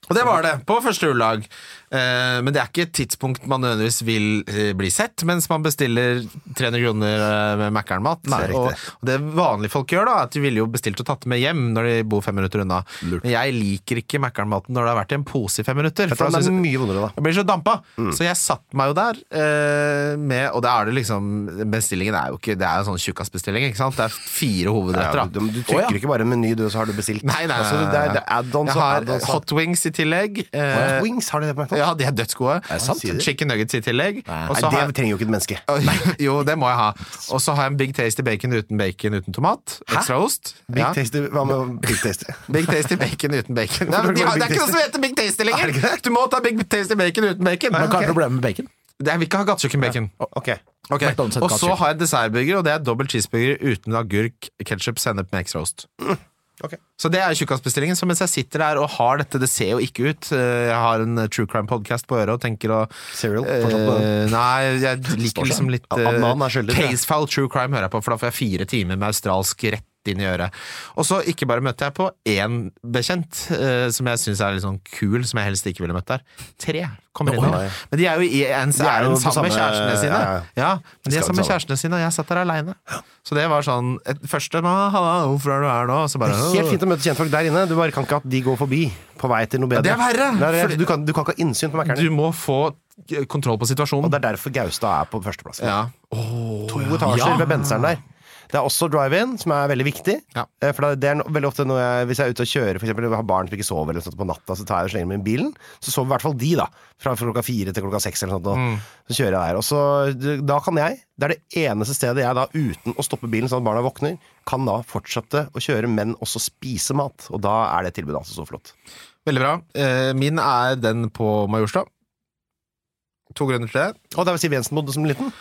S1: Og det var det, på første juledag. Eh, men det er ikke et tidspunkt man nødvendigvis vil eh, bli sett mens man bestiller 300 kroner eh, med Mækkern-mat.
S3: Nei,
S1: Og,
S3: riktig.
S1: og det vanlige folk gjør, da, er at de ville jo bestilt og tatt med hjem når de bor fem minutter unna. Men jeg liker ikke Mækkern-maten når det har vært i en pose i fem minutter.
S3: For
S1: da Mm.
S3: det
S1: synes
S3: er
S1: jeg-
S3: mye vondere, da.
S1: jeg blir så dampa. Så jeg satt meg jo der eh, med Og da er det liksom Bestillingen er jo ikke Det er jo sånn tjukkasbestilling, ikke sant? Det er fire hovedretter, da.
S3: Ja, du, du trykker
S2: Å, ja.
S3: ikke bare en meny, du, så har du bestilt.
S1: Nei, nei,
S3: så det er, det er add-ons
S1: jeg
S3: og
S1: har
S3: add-ons.
S1: hot wings i tillegg. eh,
S3: Hot Wings har de det på McDonald's?
S1: ja, de er dødsgode.
S3: sant? Sier du?
S1: Chicken nuggets i tillegg. Og så
S3: Nei,
S1: har-
S3: det trenger jo ikke et menneske.
S1: (laughs) jo, det må jeg ha. Og så har jeg en Big Tasty bacon uten bacon uten tomat. Ekstra ost.
S3: Big
S1: Ja.
S3: Tasty, hva med Big Tasty?
S1: Big Tasty bacon uten bacon. Nei, men de har, det er ikke noe som heter Big Tasty lenger! Du må ta Big Tasty bacon uten bacon.
S2: Men hva
S3: ok.
S2: er problemet med bacon?
S1: Det er, vi ikke ha gatekjøkkenbacon.
S3: Ok.
S1: Ok,
S2: McDonald's heter
S1: Og så
S2: gatekjøkken.
S1: har jeg dessertburger, og det er dobbelt cheeseburger uten agurk, ketsjup, sennep med ekstra ost.
S3: ok.
S1: Så det er tjukkasbestillingen. Så mens jeg sitter der og har dette, det ser jo ikke ut eh, Jeg har en eh, true crime-podkast på øret og tenker å
S3: Serial,
S1: Eh,
S3: fortsatt på
S1: nei,
S3: (laughs)
S1: jeg liker liksom litt eh,
S3: Adnan sånn. er skyldig, tror jeg.
S1: Case file true crime hører jeg på, for da får jeg fire timer med australsk rett inn i øret. Og så ikke bare møtte jeg på én bekjent, eh, som jeg syns er litt sånn kul, som jeg helst ikke ville møtt der. Tre kommer inn
S3: Oi.
S1: der. Men de er jo i en
S3: De er jo
S1: ærend
S3: på
S1: sammen med
S3: samme-
S1: kjærestene sine.
S3: ja, ja.
S1: Ja, men de er sammen
S3: Skal
S1: med
S3: sammen.
S1: kjærestene sine, og jeg satt der aleine. Så det var sånn et, Første «Ma, Halla, hvorfor er du her nå? Og så bare
S3: Helt fint å møte kjentfolk der inne. Du bare kan ikke at de går forbi på vei til noe bedre.
S1: Det er verre,
S3: Det er-
S1: fordi-
S3: Du, kan, du kan ikke ha innsyn på
S1: Du
S3: Mækkern.
S1: må få eh, kontroll på
S3: Og
S1: situasjonen.
S3: det er derfor Gaustad er på førsteplass.
S1: Ja.
S3: To etasjer
S1: ja.
S3: ved benseren der. Det er også drive-in, som er veldig viktig.
S1: Ja.
S3: Eh, For det er no- veldig ofte når jeg, Hvis jeg er ute og kjører, for eksempel, eller har barn som ikke sover eller sånt på natta, så tar jeg og slenger dem i bilen. Så sover i hvert fall de, da. Fra klokka fire til klokka seks eller sånt. Og
S1: Mm.
S3: Så kjører jeg der. Og så, da kan jeg, Det er det eneste stedet jeg da, uten å stoppe bilen sånn at barna våkner, kan da fortsette å kjøre, men også spise mat. Og da er det tilbudet altså så flott.
S1: Veldig bra. Eh, min er den på Majorstua. To grunner til det.
S3: Og der var Siv Jensen bodde som liten.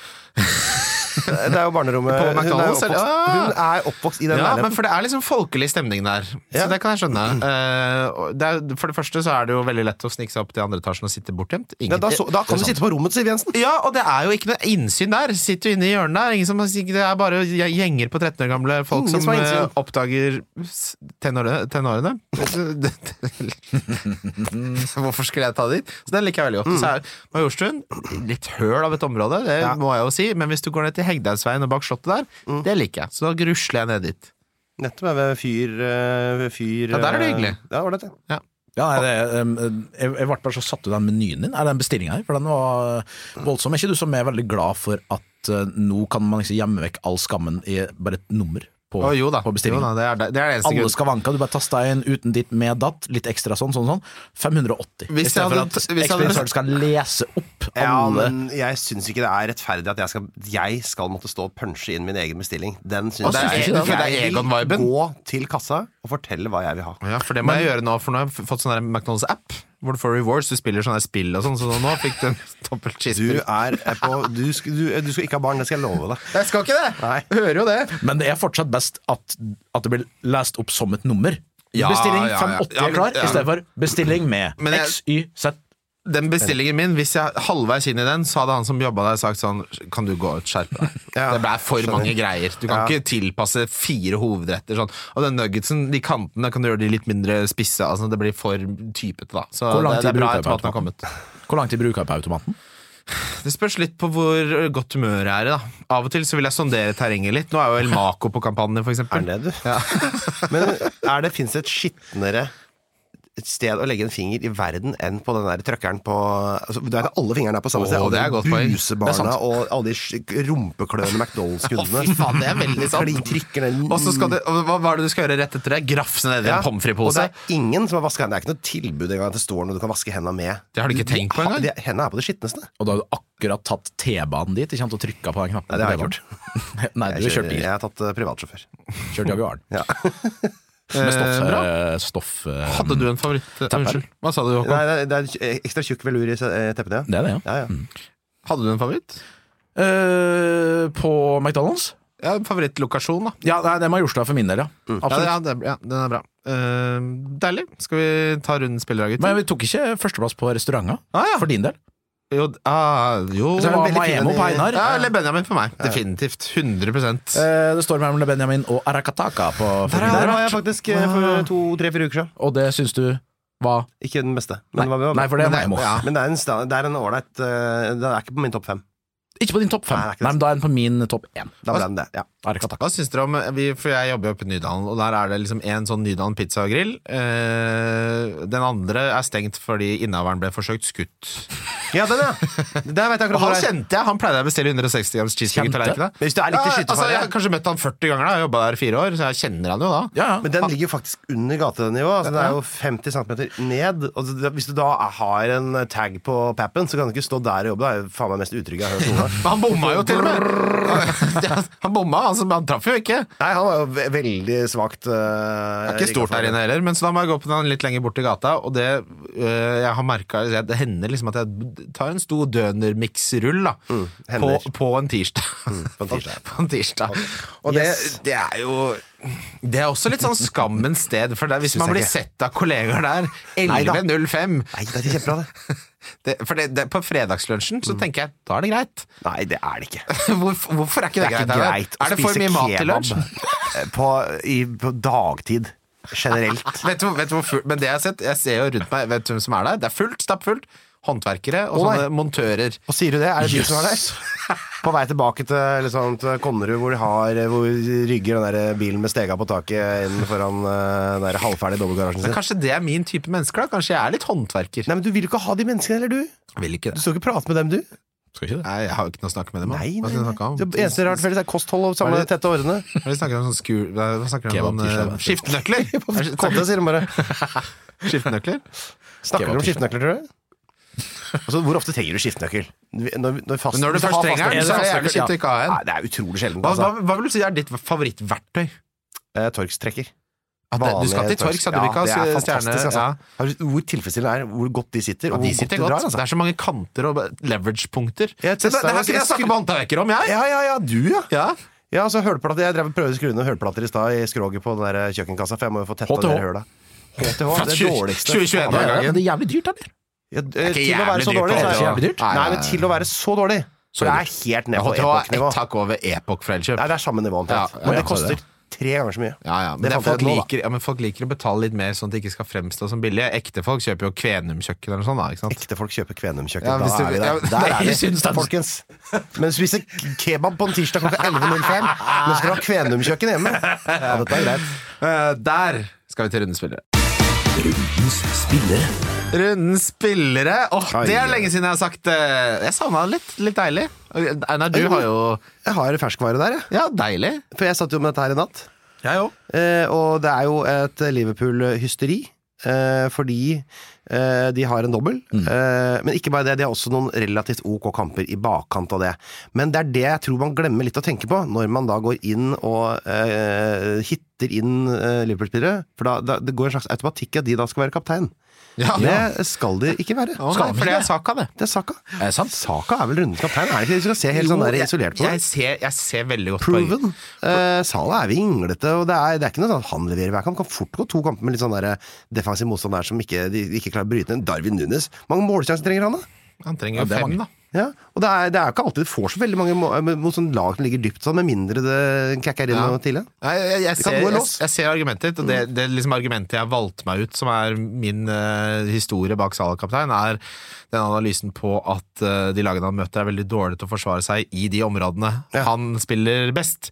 S3: Det er jo barnerommet.
S1: På
S3: Hun er
S1: McDonald's, eller?
S3: oppvokst, hun er oppvokst i den
S1: Ja, men
S3: leiligheten.
S1: for det er liksom folkelig stemning der. Så
S3: Ja.
S1: det kan jeg skjønne.
S3: (clears throat)
S1: Eh, og det er, for det første så er det jo veldig lett å snike seg opp til andre etasjen og sitte bortgjemt.
S3: Ja,
S1: Ingen-
S3: da, så, da kan du sitte på rommet til Siv Jensen.
S1: Ja, og det er jo ikke noe innsyn der. Sitter jo inne i hjørnet der. Ingen som, det er bare gjenger på 13 år gamle folk
S3: Ingen som
S1: som
S3: har
S1: eh,
S3: innsyn.
S1: oppdager s- tenåre- tenårene. (laughs) Hvorfor skulle jeg ta dit? Så den liker jeg veldig godt. Mm. Så er Majorstuen litt høl av et område, det
S3: Ja.
S1: må jeg jo si. Men hvis du går ned til Hegdehaugsveien og bak slottet der, det liker jeg. Så da grusler jeg ned dit.
S3: Nettopp er ved fyr, eh, fyr
S1: Ja, der er det
S3: eh,
S1: hyggelig.
S3: Ja, var det det?
S2: Ja, nei, det, um, jeg, jeg ble bare så satt ut av menyen din. Er det en bestilling her? For den var voldsom. eh, Er ikke du som er veldig glad for at uh, nå kan man liksom gjemme vekk all skammen i bare et nummer? på,
S1: Å, jo da,
S2: på
S1: jo
S2: bestillingen.
S1: da, det, er, det er det eneste
S2: Alle
S1: grunnen.
S2: skal vanke, du bare tasta inn uten ditt med datt, litt ekstra sånn, sånn, sånn. 580.
S1: Hvis
S2: I stedet for
S1: jeg hadde-
S2: at
S1: hvis jeg hadde-
S2: Experience Hard skal lese opp
S3: Ja,
S2: alle
S3: men jeg syns ikke det er rettferdig at jeg skal, jeg skal måtte stå og punche inn min egen bestilling. Den
S1: Hva
S3: syns
S1: syns du
S3: jeg
S1: ikke da? For det er
S3: Jeg
S1: Egon-viben.
S3: vil gå til kassa og fortelle hva jeg vil ha.
S1: Ja, for det må jeg gjøre nå, for nå har jeg fått sånn der McDonald's-app. Hvor du får rewards, du spiller sånne spill og sånn, så nå fikk du en (laughs) dobbelt
S3: Du
S1: cheeseburger.
S3: er på du, sk- du, du skal ikke ha barn, det skal jeg love deg.
S1: Jeg skal ikke det!
S3: Nei.
S1: Hører jo det.
S2: Men det er fortsatt best at, at det blir lest opp som et nummer.
S1: Ja,
S2: bestilling
S1: ja, ja.
S2: 580
S1: Ja, men-
S2: er klar,
S1: ja.
S2: i stedet for bestilling med
S1: Men jeg-
S2: X, Y, Z.
S1: Den bestillingen min, hvis jeg halvveis inn i den, så hadde han som jobba der, sagt sånn Kan du gå ut, skjerpe deg.
S3: Ja,
S1: det ble for
S3: skjønner.
S1: mange greier. Du kan
S3: Ja.
S1: ikke tilpasse fire hovedretter sånn. Og den nuggetsen, de kantene, kan du gjøre de litt mindre spisse. Altså, det blir for typete, da. Så
S2: Hvor lang
S1: det, det
S2: tid
S1: er bra
S2: bruker
S1: etter at den
S2: jeg
S1: har
S2: på
S1: kommet.
S2: Hvor lang tid bruker jeg på automaten?
S1: Det spørs litt på hvor godt humøret er i, da. Av og til så vil jeg sondere terrenget litt. Nå er jo El Maco på kampanje, for
S3: Er
S1: eksempel.
S3: det du? (laughs) Men er det, fins det et skitnere sted å legge en finger i verden enn på den der trøkkeren på altså, Du vet at alle fingrene er på samme
S1: Åh,
S3: sted.
S1: det er et
S3: Alle
S1: godt
S3: de
S1: poeng. Det er
S3: busebarna
S1: sant.
S3: og alle de sk- rumpekløende
S1: Å,
S3: McDonald's-kundene.
S1: fy faen, det er (laughs)
S3: (laughs)
S1: veldig sant.
S3: De trykker ned
S1: Og så skal du, og hva, hva er det du skal gjøre rett etter det? Grafse ned i
S3: Ja,
S1: en pommes
S3: Og det
S1: frites-pose?
S3: er ingen som har vasket hendene. Det er ikke noe tilbud engang til stolen hvor du kan vaske hendene med.
S1: Det har du ikke tenkt på engang?
S3: De- Hendene er på det skitneste.
S2: Og da har du akkurat tatt T-banen dit ikke sant, og trykka på den knappen.
S3: Nei, det har jeg
S2: gjort. (laughs) Nei, du
S3: Jeg,
S2: kjørte
S3: kjører,
S2: bil.
S3: jeg har tatt eh, privatsjåfør.
S2: Kjørte Jaguaren.
S3: Ja.
S2: Med stoff...
S1: Eh, bra.
S2: eh, stoff eh,
S1: Hadde du en favoritt? Unnskyld, hva sa du, Håkon?
S3: Nei, det er- det er ekstra tjukk velur i eh, teppene.
S1: Mm.
S2: Det er det, ja.
S3: Ja, ja.
S1: Hadde du en favoritt?
S2: Eh, på McDonald's?
S1: Ja, favorittlokasjon, da.
S2: Ja, nei, det må ha gjort seg for min del, ja.
S1: Ja,
S2: Absolutt.
S1: ja, det, ja, den er bra. Eh, deilig. Skal vi ta runden spillere, gutter?
S2: Men vi tok ikke førsteplass på restauranta,
S1: Ah, ja.
S2: for din del.
S1: Jo, ah, jo.
S2: Så det var
S3: veldig fin
S2: Maemo på
S3: i-
S2: Einar.
S1: Ja, eller Benjamin for meg. Definitivt. 100
S2: Eh, det står mellom Benjamin og Arakataka
S1: Der
S2: på forrige
S1: er
S2: del.
S1: det.
S3: Der var jeg faktisk eh, for to-tre-fire uker siden.
S2: Og det syns du var
S3: Ikke den beste.
S2: Nei,
S3: Men, det var-
S2: nei for det er
S1: Men det-
S2: Maemo.
S1: ja.
S3: men det er en sta- det er en ålreit eh, Den er ikke på min topp fem.
S2: Ikke på din topp fem.
S3: Nei, det er
S2: Nei,
S3: ikke det.
S2: men da er den på min topp én.
S3: Da
S1: Altså-
S3: ble den det. Ja.
S2: Arakataka.
S1: Hva syns dere om eh, vi, For jeg jobber jo oppe i Nydalen, og der er det liksom én sånn Nydalen pizza og grill. Eh, den andre er stengt fordi innehaveren ble forsøkt skutt.
S3: ja,
S1: (laughs)
S3: den, ja. Der vet jeg
S1: Og
S3: akkurat hvor
S1: han
S3: det er.
S1: kjente jeg! Han pleide jeg å bestille 160 grams cheeseburger.
S2: Kjente?
S1: til deg, ikke det?
S3: Men hvis du er litt i
S1: ja, altså,
S3: skytefare
S1: Jeg har kanskje møtt han 40 ganger, da. jeg har jobba der i fire år, så jeg kjenner han jo da.
S2: Ja, ja.
S3: Men den ligger jo faktisk under gatenivå. Altså det er jo 50 cm ned. Og det- hvis du da har en tag på pappen, så kan du ikke stå der og jobbe. Det er jo faen meg mest utrygge jeg har hørt
S1: (laughs)
S3: noen gang.
S1: Men han bomma jo til og (laughs) med! Han bomma, altså, men han traff jo ikke.
S3: Nei, han var jo ve veldig svakt eh,
S1: Det er ikke stort der inne heller, men så da må jeg gå på den litt lenger bort i gata. Og det øh, jeg har merket, jeg- Det hender liksom at jeg tar en stor dønermiksrull da, på,
S3: Mm, hender. Mm,
S1: på en tirsdag.
S3: på en tirsdag.
S1: (laughs) På en tirsdag. Og
S3: Yes.
S1: det, det er jo Det er også litt sånn skammens sted, for det, er hvis
S3: Synes
S1: man
S3: jeg
S1: blir
S3: ikke.
S1: sett av kolleger der
S3: da.
S1: 11.05
S3: Nei, det er kjempebra, det.
S1: det, For det, det, på fredagslunsjen
S3: Mm.
S1: så tenker jeg da er det greit. (laughs)
S3: Nei, det er det ikke.
S1: Hvorfor, hvorfor er ikke det,
S3: Det er ikke
S1: Einar?
S3: greit å
S1: Er det for
S3: spise
S1: mye mat til
S3: kebab
S1: lunsj?
S3: (laughs) på, i, på dagtid. Generelt.
S1: Vet du, vet du hvor full, men det jeg har sett, jeg ser jo rundt meg, vet du hvem som er der? Det er fullt, stappfullt. Håndverkere og
S3: Å, nei.
S1: sånne montører.
S3: Og sier du det? Er det de som er der? (laughs) På vei tilbake til, liksom, til Konnerud, hvor de har eh, Hvor de rygger den der bilen med stega på taket inn foran eh, den der halvferdige dobbeltgarasjen
S1: Men
S3: sin.
S1: kanskje det er min type mennesker, da? Kanskje jeg er litt håndverker?
S3: Nei, men Du vil jo ikke ha de menneskene heller, du.
S1: Jeg vil ikke
S3: Du
S1: det.
S3: skal ikke prate med dem, du.
S2: Skal ikke det.
S1: Nei, jeg har jo ikke noe å snakke med dem om.
S3: Nei,
S1: Hva
S3: nei,
S1: skal jeg
S3: nei.
S1: snakke om?
S3: Det eneste rart felles er kosthold og samle
S1: det-
S3: tette
S1: (laughs)
S3: årene.
S1: Vi snakker om sånn skur... Hva snakker vi om?
S2: Kebab, tirsdag,
S1: Sånn, eh, skiftenøkler?
S2: vet du.
S1: Er det- sånn
S3: Kåte, sier de
S1: (laughs)
S3: bare.
S1: Skiftenøkler?
S3: Snakker dere om
S2: Kebabtirsdag.
S3: skiftenøkler, tror du? Altså, hvor ofte trenger du skiftenøkkel? Når, når, fast,
S1: Men når du
S3: hvis
S1: først
S3: har
S1: trenger den,
S3: fastnøkkel-
S1: så er det
S2: fastnøkkel,
S1: jævlig kjipt å ikke ha
S3: Nei,
S1: en.
S3: det er utrolig sjeldent.
S1: Hva, hva,
S3: Altså.
S1: hva vil du si er ditt favorittverktøy?
S3: Eh, Torx-trekker.
S1: At det, du skal til Torx, at du vil ikke
S3: Ja, det
S1: ha
S3: er
S1: stjerne...
S3: fantastisk, altså.
S1: Ja.
S3: Har du- Hvor tilfredsstillende er det? Hvor godt de sitter? og
S1: De
S3: hvor
S1: sitter
S3: de
S1: godt.
S3: drar, altså.
S1: Det er så mange kanter og leverage-punkter. Det,
S3: Jeg
S1: det,
S3: testet-
S1: det her kunne jeg snakke med håndverkere om, jeg!
S3: Ja, ja, ja, du ja.
S1: Ja.
S3: Ja, altså hølplater Jeg drev og prøvde å skru ned hølplater i stad i skroget på den der eh, kjøkkenkassa, for jeg må jo få tetta
S2: HTH.
S3: det høla. HTH, det er dårligste.
S1: 2021
S3: Ja,
S1: hver gang.
S2: Men det er jævlig dyrt, eller?
S1: er
S3: ja, eh,
S1: ikke
S3: Til å være
S1: jævlig
S3: så
S1: dyrt,
S3: dårlig,
S1: det
S3: så
S1: er
S3: er
S2: ikke jævlig dyrt.
S3: Nei,
S1: Nei,
S3: men
S1: nei,
S3: til å være så dårlig, så det er helt ned på
S1: HTH er
S3: epoknivå.
S1: ett hakk over Epoch for Elkjøp.
S3: Nei, det er samme nivå omtrent.
S1: Ja, ja,
S2: ja, så
S3: Men det
S2: er det.
S3: koster tre ganger så mye.
S1: Ja, ja. Men, det er
S3: Det fant jeg
S1: folk
S3: ut nå, da.
S1: liker, ja, men folk liker å betale litt mer, sånn at det ikke skal fremstå som billig. Ekte folk kjøper jo Kvenum-kjøkken eller noe sånt. Da, ikke sant?
S3: Ekte folk kjøper Kvenum-kjøkken.
S1: Ja,
S3: da
S1: hvis du-
S3: er vi
S1: ja,
S3: der. Der
S1: (laughs) nei,
S3: er
S1: syns
S3: vi,
S1: den-
S3: folkens. Men spise kebab på en tirsdag klokka 11.05. Nå skal du ha Kvenum-kjøkken hjemme. Ja, dette er greit.
S1: Eh, der skal vi til rundens spillere.
S2: Rundens spillere.
S1: Rundens spillere! Åh,
S3: Ai,
S1: det er
S3: ai.
S1: lenge siden jeg har sagt eh, Jeg savna det litt. Litt deilig. Einar, du har jo
S3: Jeg har ferskvare der, jeg.
S1: Ja, deilig.
S3: For jeg satt jo med dette her i natt.
S2: Jeg òg.
S3: Eh, og det er jo et Liverpool-hysteri. Eh, fordi eh, de har en dobbel.
S1: Mm.
S3: Eh, men ikke bare det, de har også noen relativt ok kamper i bakkant av det. Men det er det jeg tror man glemmer litt å tenke på når man da går inn og eh, hitter inn eh, Liverpool-spillere. For da, da, det går en slags automatikk i at de da skal være kaptein.
S1: Ja.
S3: Det skal de ikke være.
S1: Å, nei, for det er Saka, det.
S3: Det er Saka.
S2: Er det sant?
S3: Saka er vel rundens kaptein? Er det ikke det? Du skal se helt sånn der
S1: Jo,
S3: isolert på
S1: jeg, jeg,
S3: det.
S1: ser, jeg ser veldig godt poenget.
S3: Proven. Eh, Sala er vinglete, og det er, det er ikke noe sånn at han leverer hver kamp. Kan fort gå to kamper med litt sånn der eh, defensiv motstand der som ikke, de, de ikke klarer å bryte ned. Darwin Nunes. mange målsjanser trenger han, da?
S1: Han trenger jo
S2: det er
S1: fem,
S2: mange.
S1: da.
S3: Ja, og det er, det er jo ikke alltid du får så veldig mange må- eh, mot sånn lag som ligger dypt sånn, med mindre det kakker inn
S1: Ja.
S3: noe tidlig.
S1: Nei, jeg, jeg, jeg,
S3: kan
S1: ser,
S3: gå i
S1: jeg,
S3: lås.
S1: jeg ser argumentet ditt, og det, det er liksom argumentet jeg valgte meg ut, som er min eh, historie bak Salah-kaptein, er den analysen på at eh, de lagene han møter, er veldig dårlige til å forsvare seg i de områdene
S3: Ja.
S1: han spiller best.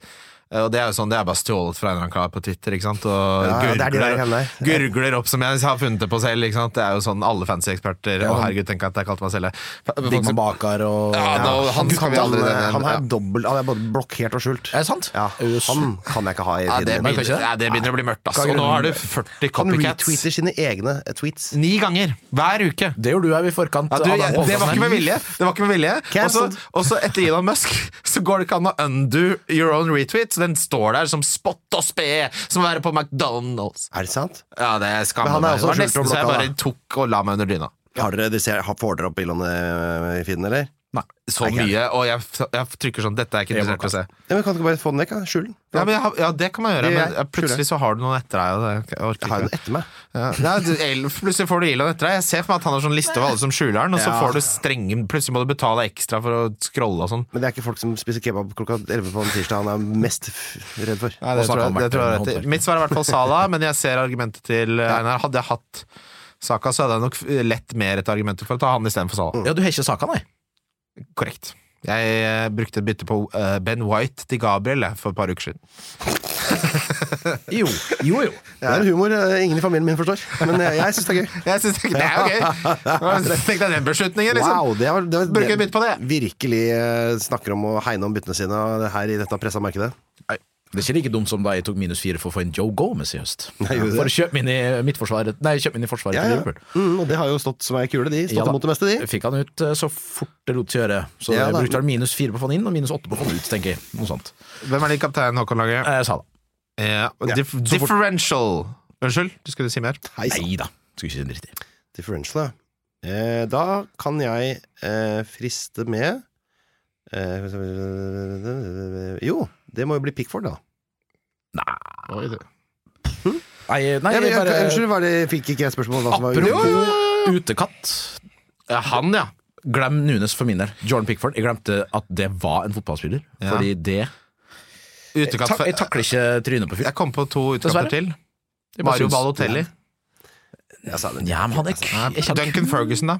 S1: Eh, Og Det er jo sånn, det er bare stjålet fra en eller annen kar på Twitter ikke sant? og
S3: Ja, ja, det er de der
S1: gurgler,
S3: igjen
S1: gurgler opp som jeg har funnet det på selv. Ikke sant? Det er jo sånn alle fancy eksperter. Å, herregud, tenk at jeg kalte meg selv det. Folk
S2: Digman
S1: som-
S2: Bakar og
S1: Ja, da- han
S3: Han,
S1: kan vi
S3: han,
S1: aldri
S3: eh,
S1: nevne.
S3: han
S1: Ja.
S3: er dobbelt Han er både blokkert og skjult.
S2: Er det sant?
S3: Ja,
S2: Us.
S3: han kan jeg ikke ha i
S1: Ja, det
S3: tiden
S2: kan
S3: min.
S2: ikke
S1: begynner,
S2: det?
S1: ja, det begynner å bli mørkt, ass.
S2: Kan
S1: Og nå
S2: grunne-
S1: er det 40
S3: Han
S1: copycats.
S3: retweeter sine egne eh, tweets.
S1: Ni ganger hver uke.
S2: Det gjorde du her i forkant.
S1: Ja, du,
S2: av den
S1: jeg, det var
S2: podcasten
S1: ikke med
S2: her.
S1: vilje. Det var ikke med vilje. Og så-
S3: Cancelled.
S1: Og så etter Elon Musk så går det ikke an å undo your own retweet. Så den står der som spott og spe, som å være på McDonald's.
S3: Er det sant?
S1: Ja, det
S3: Men
S1: skammer
S3: han er
S1: meg. Det
S3: også
S1: var
S3: skjult
S1: nesten
S3: og
S1: så jeg
S3: blokka,
S1: bare tok og la meg under dyna.
S3: Har dere, de ser, har- får dere opp bildene eh, i feeden, eller?
S1: Så
S3: Ok.
S1: mye, og jeg, jeg trykker sånn Dette er jeg ikke interessert i å se.
S3: Ja, men kan du ikke bare få den vekk? da? Skjul den.
S1: Ja, men jeg, har- ja, det kan man gjøre,
S3: Det gjør
S1: men
S3: jeg.
S1: ja, plutselig så har du noen etter deg. Og det, jeg orker
S3: Jeg har
S1: ikke.
S3: jo den etter meg.
S1: Ja. Nei, du- El- plutselig får du Elon etter deg. Jeg ser for meg at han har sånn liste over alle som skjuler den, og så
S3: Ja.
S1: får du strenge Plutselig må du betale ekstra for å scrolle og sånn.
S3: Men det er ikke folk som spiser kebab klokka 11 på en tirsdag han er mest f- redd for.
S1: Nei, det tror jeg,
S2: Og så har
S1: det
S2: han vært
S1: tror jeg
S2: en
S1: er rett i.
S2: håndverker.
S1: Mitt svar er i hvert fall Sala, men jeg ser argumentet til eh, Einar. Hadde jeg hatt Saka, så hadde jeg nok eh, lett mer et argument for å ta han istedenfor Sala.
S2: Ja, du har ikke saka, nei?
S1: Korrekt. Jeg eh, brukte et bytte på eh, Ben White til Gabriel jeg, for et par uker siden.
S2: Jo, jo. jo.
S3: Det er en humor eh, ingen i familien min forstår, men eh, jeg, jeg syns det er gøy.
S1: Jeg synes det, det er jo gøy!
S2: (laughs)
S1: Tenk deg den beslutningen, liksom.
S3: Wow, det var, det var
S1: Bruker bytte på det.
S3: Virkelig eh, snakker om å hegne om byttene sine her i dette pressa markedet.
S2: Det er ikke like dumt som da jeg tok minus fire for å få inn Joe Gomez i høst.
S3: Nei, gjorde du det?
S2: for å kjøpe inn i mitt forsvar Nei, kjøpe inn i forsvaret til Liverpool.
S3: Mm, og det har jo stått som ei kule, de. Stått
S2: Ja da.
S3: imot det meste, de.
S2: Jeg Fikk han ut eh, så fort det lot seg gjøre. Så
S3: Ja
S2: jeg
S3: da.
S2: brukte vel minus fire på å få han inn, og minus åtte på å få han ut, tenker jeg. Noe sånt.
S1: Hvem er din kaptein, Håkon Lange?
S2: Eh, Jeg sa det.
S1: Eh, dif
S2: så fort-
S1: differential. Unnskyld, du skulle si mer?
S3: Hei sann.
S2: Nei da. Skulle ikke si en dritt i.
S3: Differential, ja. Eh, da kan jeg eh, friste med eh, Jo, det må jo bli Pickford, da.
S2: Nei, eh, nei
S3: Ja, men,
S2: jeg
S3: jeg,
S2: bare
S3: unnskyld, var det, fikk ikke jeg spørsmål om hva som var
S2: Apropos utekatt.
S1: Ja, han, ja.
S2: Glem Nunes for min del. Jordan Pickford. Jeg glemte at det var en fotballspiller,
S1: Ja.
S2: fordi det
S1: Utekatt
S2: Eh, Ta- Jeg takler ikke trynet på fyr.
S1: Jeg kom på to
S2: Dessverre.
S1: utkamper til.
S2: Jeg bare
S1: Mario
S2: syns-
S1: Balotelli.
S3: Jeg sa det.
S2: Ja, men han er k- jeg kjenner-
S1: Duncan Ferguson, da.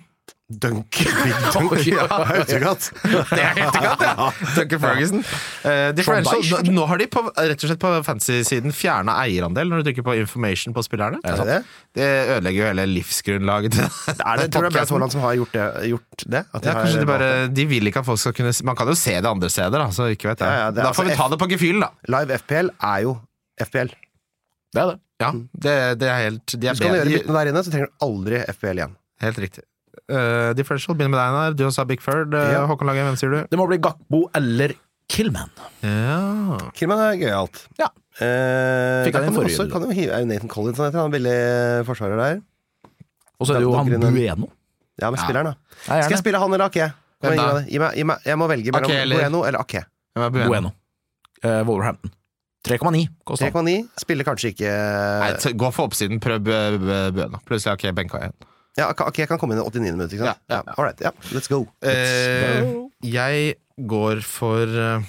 S3: Dunk. Big dunk.
S2: Ja.
S3: (laughs) Autograd.
S1: Det er helt godt, ja. Duncan Ferguson. Eh, differential.
S2: Sean
S1: Nå- Nå har de på, rett og slett på fantasy-siden fjerna eierandel når du trykker på information på spillerne. Altså,
S3: Er det det?
S1: Det ødelegger jo hele livsgrunnlaget til
S3: Er det,
S1: til
S3: tror du det er
S1: (laughs)
S3: Braut
S1: podcasten.
S3: Haaland som har gjort det? Gjort det? At
S1: ja,
S3: har-
S1: kanskje de bare De vil ikke at folk skal kunne s- Man kan jo se det andre steder, da. Så ikke vet jeg.
S3: Ja, ja, det er
S1: da får
S3: altså
S1: vi ta det på gefühlen, da.
S3: Live FPL er jo FPL.
S2: Det er det.
S1: Ja, det, det er helt De er
S3: Så kan Mm. du gjøre
S1: bedre.
S3: byttene der inne, så trenger du aldri FPL igjen.
S1: Helt riktig. Eh, differential begynner med deg, Einar. Du sa Big Ferd. Eh,
S3: Ja.
S1: Håkon Lange, hvem sier du?
S2: Det må bli Gakbo eller Killman.
S1: Ja.
S3: Killman er gøyalt.
S2: Ja.
S3: Eh,
S2: Fikk han
S3: da
S2: i
S3: kan du
S2: forrige
S3: også,
S2: runde.
S3: kan du hive, er det Nathan Collins han heter, han er veldig forsvarer der.
S2: Og så er det jo han
S3: Duncan Green.
S2: Bueno.
S3: Ja, med spilleren, da.
S2: Nei,
S3: Skal jeg spille han eller Ake? Kom
S1: Hvem
S3: igjen,
S1: da?
S3: Gi meg, det. gi meg, gi meg, jeg må velge mellom
S1: Ake eller-
S3: Bueno eller Ake.
S1: Hvem er Bueno?
S2: Bueno. Eh, Wolverhampton. 3,9 koster han.
S3: 3,9 spiller kanskje ikke
S1: Nei, t- gå for oppsiden. Prøv Bø- Bø- Bueno. Plutselig har ikke jeg benka igjen.
S3: Ja, Ake- Ake kan komme inn i 89 minutter, ikke sant?
S1: Ja, ja,
S3: Ja, all right, ja. Let's go.
S1: Eh, jeg går for eh,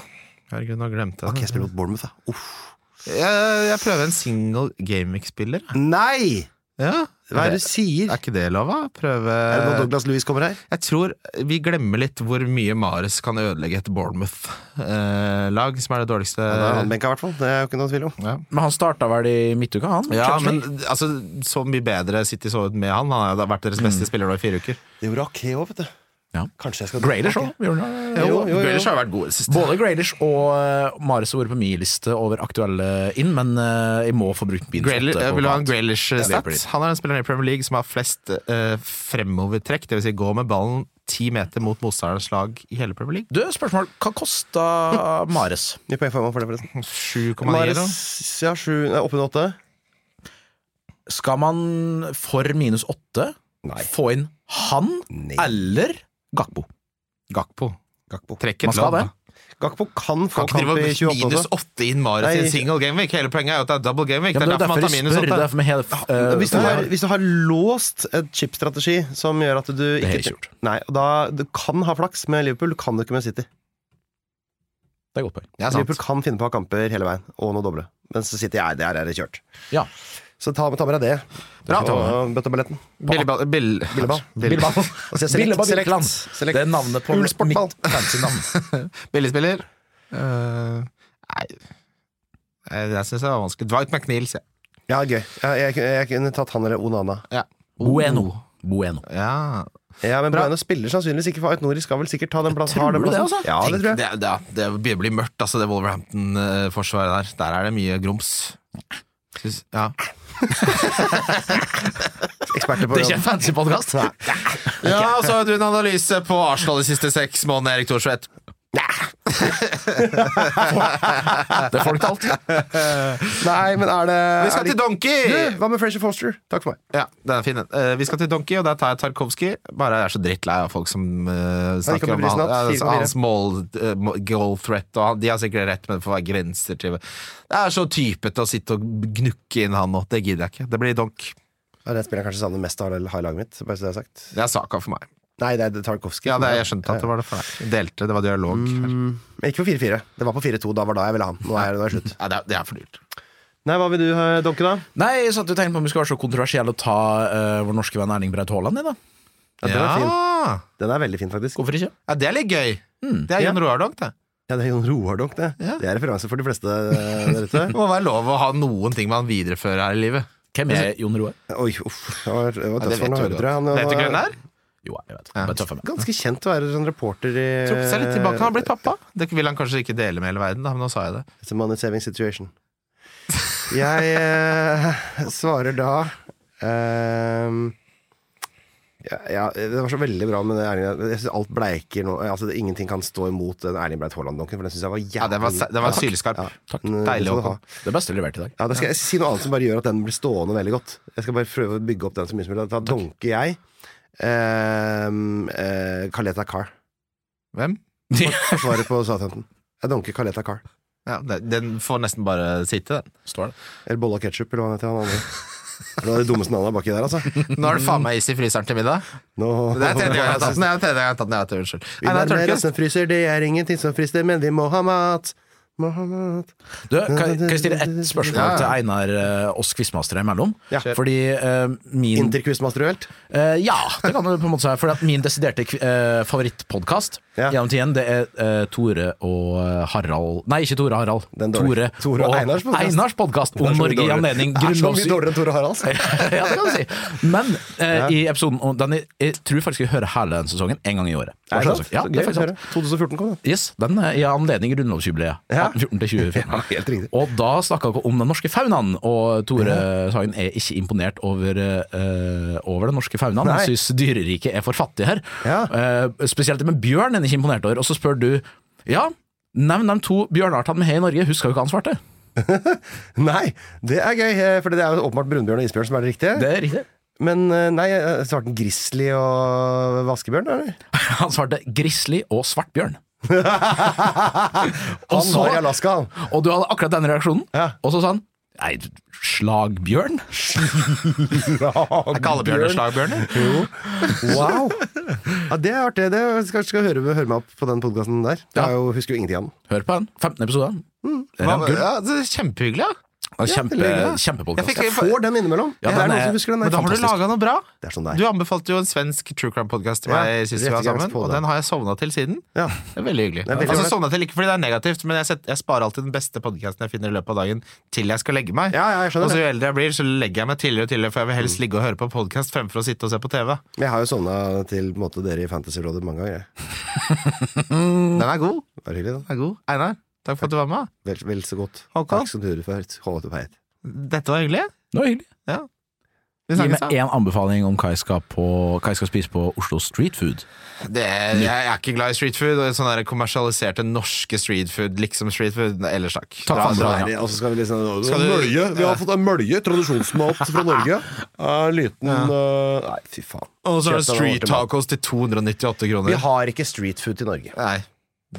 S1: Herregud, nå glemte
S3: Ake
S1: jeg det.
S3: spiller mot Bournemouth, da. Uff.
S1: Jeg, jeg prøver en single gaming-spiller. jeg.
S3: Nei!
S1: Ja.
S3: Hva er
S1: Er,
S3: det du sier? Eh,
S1: ikke det lov, da? Prøve
S3: Er det når Douglas Lewis kommer her?
S1: Jeg tror vi glemmer litt hvor mye Mares kan ødelegge et Bournemouth-lag, som er det dårligste
S3: Da er han benka, i hvert fall. Det er jo ikke noe tvil om.
S1: ja.
S2: Men han starta vel i midtuka, han?
S1: Ja,
S2: Churchill.
S1: men altså, Mm. så mye bedre City så ut med han. Han har jo vært deres beste spiller nå i fire uker.
S3: Det gjorde Ake òg, vet du.
S2: Ja.
S3: Kanskje jeg skal
S2: Graylish òg. Både
S1: Jo,
S3: jo, jo.
S1: Grealish har vært god i det siste.
S2: Graylish og eh, Mares har vært på min liste over aktuelle inn, men eh, jeg må få brukt min
S1: Grealish,
S2: åtte på
S1: vil du ha
S2: noe
S1: en
S2: annet. Ja, det blir
S1: Grealish-stats?
S2: det.
S1: Han er den spilleren i Premier League som har flest eh, fremovertrekk, dvs. Si gå med ballen ti meter mot motstanderens lag i hele Premier League.
S2: Du, spørsmål. Hva kosta Mares?
S3: Mye poeng for meg for det, forresten.
S1: 7,9
S3: Mares,
S1: da.
S3: ja, sju Nei, oppe i åtte.
S2: Skal man for minus åtte
S3: Nei.
S2: få inn han
S3: Nei.
S2: eller Gakbo?
S1: Gakpo.
S3: Gakpo.
S1: Trekk
S2: Man
S1: et
S2: skal
S1: lodd.
S2: det.
S1: da.
S3: Gakpo kan
S1: Kan
S3: få
S1: ikke
S3: kamp
S1: drive
S3: i
S1: og
S3: 28
S1: minus
S3: også.
S1: 8 inn Mares i
S3: Nei.
S1: en single gameweek. Hele poenget er jo at det er double gameweek. det
S2: Ja, men
S1: er derfor man tar
S2: jeg
S1: minus
S2: spør. Det
S1: 8.
S2: er derfor vi hele, eh,
S3: Hvis du,
S2: det
S3: har,
S2: er-
S3: hvis du har låst en chipstrategi som gjør at du
S2: har
S3: ikke
S2: jeg ikke gjort.
S3: Nei, og da, Du kan ha flaks med Liverpool, du kan jo ikke med
S2: det
S3: City.
S2: er godt poeng.
S1: Ja, sant.
S3: Liverpool kan finne på å ha kamper hele veien, og noe doble. Mens City er der er det kjørt.
S2: Ja.
S3: Så ta, ta med deg det.
S1: Bra.
S3: Og bøtteballetten.
S1: Billeball Bill,
S3: Billeball.
S1: Billeball.
S3: Og så
S2: Billeball
S3: select,
S2: Birkeland.
S3: select, select.
S2: Det er navnet på
S3: Ulf Sportball.
S2: mitt (laughs) fancy navn.
S1: Billigspiller. Eh, nei Eh, Det syns jeg var vanskelig. Dwight McNeil, sier jeg.
S3: Ja, gøy. Ja, jeg, jeg, kunne tatt han eller Onana.
S1: Ja.
S2: Bueno. Bueno.
S1: Ja.
S3: Ja, Men Brøyne spiller sannsynligvis ikke, for Aitnori skal vel sikkert ta den plassen. har den
S2: Tror du det, altså?
S3: plassen. Ja, det
S1: Tenk,
S3: tror jeg.
S1: det, det, det begynner å bli mørkt, altså, det Wolverhampton-forsvaret der. Der er det mye grums. Syns- ja.
S3: Eksperter på
S2: en fancy podkast.
S1: ja, og så har du en analyse på Arsenal de siste seks månedene, Erik Thorsvedt.
S2: Det er folk til alt.
S3: Nei, men er det
S1: Vi skal
S3: er
S1: til
S3: det-
S1: Donkey!
S3: Du, Hva med Frazier Foster? Takk for meg.
S1: Ja, det er fin den. Eh, vi skal til Donkey, og der tar jeg Tarkovskij. Bare jeg er så drittlei av folk som eh, snakker
S3: ikke
S1: om
S3: om
S1: han,
S3: Brysnatt,
S1: ja,
S3: 4,4.
S1: hans mål, eh, må- goal threat, og han, de har sikkert rett, men det får være grenser til Det er så typete å sitte og gnukke inn han nå. Det gidder jeg ikke. Det blir donk.
S3: Ja, det spiller jeg kanskje savner mest av hele har i laget mitt. Bare så det er sagt.
S1: Det er saka for meg.
S3: Nei, det er Tarkovskij.
S1: Ja, det, jeg skjønte at det var det for deg. Delte, det var Mm. dialog.
S3: Mm.
S1: her.
S3: Men Ikke på 4-4. Det var på 4-2. Da var da jeg ville ha ham. Nå er nå er det slutt.
S1: Nei, det, er, det er for dyrt.
S3: Nei, hva vil du, eh, Donke, da?
S2: Nei, jeg satt og tenkte på om vi skulle være så kontroversielle å ta eh, vår norske venn Erling Braut Haaland i, da.
S3: Ja, den, er fin.
S1: Ja.
S3: den er veldig fin, faktisk.
S2: Hvorfor ikke?
S1: ja, det er litt gøy. Det er Jon Roar Donk, det.
S3: Ja, det er Jon Roar Donk, det.
S1: Ja.
S3: Det er referanse for de fleste eh, der ute.
S1: Det (laughs) må være lov å ha noen ting man viderefører her i livet.
S2: Hvem er Jon Roar?
S3: Oi, uff. Det var, det var
S1: Ja, det
S3: tøft for ham å
S1: vet du
S3: høre,
S1: godt.
S3: tror jeg. Han,
S1: Vet du
S3: han
S1: ikke
S3: er
S1: hvem det er?
S2: Jo, jeg vet.
S1: Ja.
S2: Bare tøffe meg.
S3: Ganske kjent å være sånn reporter i
S1: Trukket seg litt tilbake. Han har blitt pappa.
S3: Eh,
S1: Det vil han kanskje ikke dele med hele verden, da, men nå sa jeg det.
S3: It's a money saving situation. Jeg eh, svarer da ehm, ja, ja, Det var så veldig bra med det Erling Jeg synes alt bleiker nå. Altså, det, ingenting kan stå imot den Erling Breit Haaland-donken, for den syns jeg var jævlig
S1: Ja, den var, den var sylskarp.
S3: Ja,
S2: Takk.
S3: den- den
S1: Deilig å
S3: skal du ha.
S1: komme.
S2: Det beste levert i dag.
S3: Ja, Da skal jeg si noe annet som bare gjør at den blir stående veldig godt. Jeg skal bare prøve å bygge opp den så mye som mulig. Da donker jeg ehm, eh, Kaleta Carr.
S1: Hvem?
S3: Forsvaret på Southampton. Jeg donker Kaleta Carr.
S1: Ja, det- den får nesten bare sitte, den.
S2: Står det.
S3: Eller Bolla Ketchup, eller hva han heter han andre. Det var det dummeste navnet baki der, altså.
S1: Nå er det faen meg is i fryseren til middag.
S3: Nå,
S1: Det er tredje gang jeg har tatt den. Det er tredje gang jeg har tatt den. Jeg vet det, Unnskyld.
S3: Vi
S1: Nei, nei,
S3: nærmer oss
S1: Tørnquist.
S3: en fryser, det er ingenting som frister, men vi må ha mat. Må ha mat.
S2: Du, kan, kan jeg stille ett spørsmål
S1: Ja, ja.
S2: til Einar eh, oss quizmastere imellom?
S3: Ja.
S2: Fordi eh, min
S3: Interquizmasterduelt.
S2: Eh, ja, det kan du på en måte si. For at min desiderte uh, favorittpodkast
S3: Ja.
S2: gjennom tiden, det er eh, Tore og eh, Harald Nei, ikke Tore og Harald.
S3: Den
S2: Tore,
S3: dårlige. Tore og Einars
S2: podkast
S3: podcast. Det er
S2: om
S3: så mye
S2: Norge i
S3: dårligere.
S2: anledning
S3: Det er så mye
S2: grunnlovsjubileet.
S3: dårligere enn Tore Harald. altså.
S2: (laughs) ja, det kan du si. Men eh, i episoden og den, jeg, jeg tror faktisk jeg hører hele den sesongen en gang i året.
S3: Er det sant?
S2: Ja,
S3: Så
S2: det er
S3: gøy å
S2: faktisk sant.
S3: høre. 2014 kom den.
S2: Yes, den er i anledning grunnlovsjubileet.
S3: Ja.
S2: 1814 til
S3: (laughs)
S2: 2014.
S3: Helt riktig.
S2: Og da snakka vi om den norske faunaen, og Tore Sagen er ikke imponert over, eh, over den norske faunaen.
S3: Nei.
S2: Han syns dyreriket er for fattig her.
S3: Ja.
S2: Eh, spesielt det med bjørn er han ikke imponert over. Og så spør du ja, nevn de to bjørnartene vi har i Norge, husker jo ikke han svarte.
S3: Nei, det er gøy, eh, for det er jo åpenbart brunbjørn og isbjørn som er det riktige.
S2: Det er riktig.
S3: Men eh, nei, eh, svarte han grizzly og vaskebjørn,
S2: (laughs)
S3: eller?
S2: (laughs) Han svarte grizzly og svartbjørn. Og
S3: Han
S2: så-
S3: var i Alaska, han.
S2: Og du hadde akkurat den reaksjonen.
S3: Ja.
S2: Og så sa han nei, slagbjørn?
S1: Er ikke alle bjørner slagbjørner?
S3: Wow! Ja, det er artig. Det skal, skal høre, høre meg opp på den podkasten der. Jeg
S2: Ja.
S3: er jo, husker jo ingenting av den.
S2: Hør på den. 15 episoder. Det er
S1: Hva-
S2: gull.
S1: Ja, det er kjempehyggelig, ja.
S2: Det er Kjempe,
S3: ligger der.
S1: Jeg
S2: Kjempepodkast.
S1: fikk-
S3: Jeg får den innimellom.
S2: Ja,
S3: det er
S2: den
S3: noen
S2: er-
S3: som husker den.
S1: Men
S3: Det
S1: da
S3: er
S1: har du
S3: fantastisk.
S1: laga noe bra.
S3: Det er sånn det er.
S1: Du anbefalte jo en svensk true crime-podkast til
S3: Ja,
S1: meg sist vi var sammen,
S3: rettegangspodden.
S1: og den har jeg sovna til siden.
S3: Ja.
S1: Det er veldig hyggelig.
S3: er veldig
S1: altså
S3: ålreit.
S1: sovna til Ikke fordi det er negativt, men jeg, setter, jeg sparer alltid den beste podkasten jeg finner i løpet av dagen, til jeg skal legge meg.
S3: Ja, ja, jeg skjønner
S1: og så
S3: det.
S1: jo eldre jeg blir, så legger jeg meg tidligere og tidligere, for jeg vil helst ligge og høre på podkast fremfor å sitte og se på TV.
S3: Men jeg har jo sovna til på en måte, dere i Fantasyrådet mange ganger. jeg.
S1: (laughs) Den er god.
S3: Det var hyggelig, da.
S1: Den er god. Einar, takk for at du var med.
S3: Vel, vel så godt.
S1: Håkon?
S3: Takk som du for Hold opp heit.
S1: Dette var hyggelig.
S2: Det var hyggelig.
S1: Ja. Vi
S2: Gi
S1: snakkes,
S2: meg
S1: da.
S2: én anbefaling om hva jeg skal, på, hva jeg skal spise på Oslo Street Food.
S1: Det, jeg er ikke glad i street food, og sånne der kommersialiserte norske street food, liksom street food. Ellers takk.
S2: Takk for andre gang.
S3: Nei, og så skal vi liksom
S1: Skal du-
S3: Mølje. Vi har fått en mølje, tradisjonsmat
S1: (laughs)
S3: fra Norge. En liten eh, Nei, fy faen.
S1: Og så er det
S3: Kjøpte den
S1: street
S3: ordentlig mat.
S1: tacos til 298 kroner.
S3: Vi har ikke street food i Norge.
S1: Nei,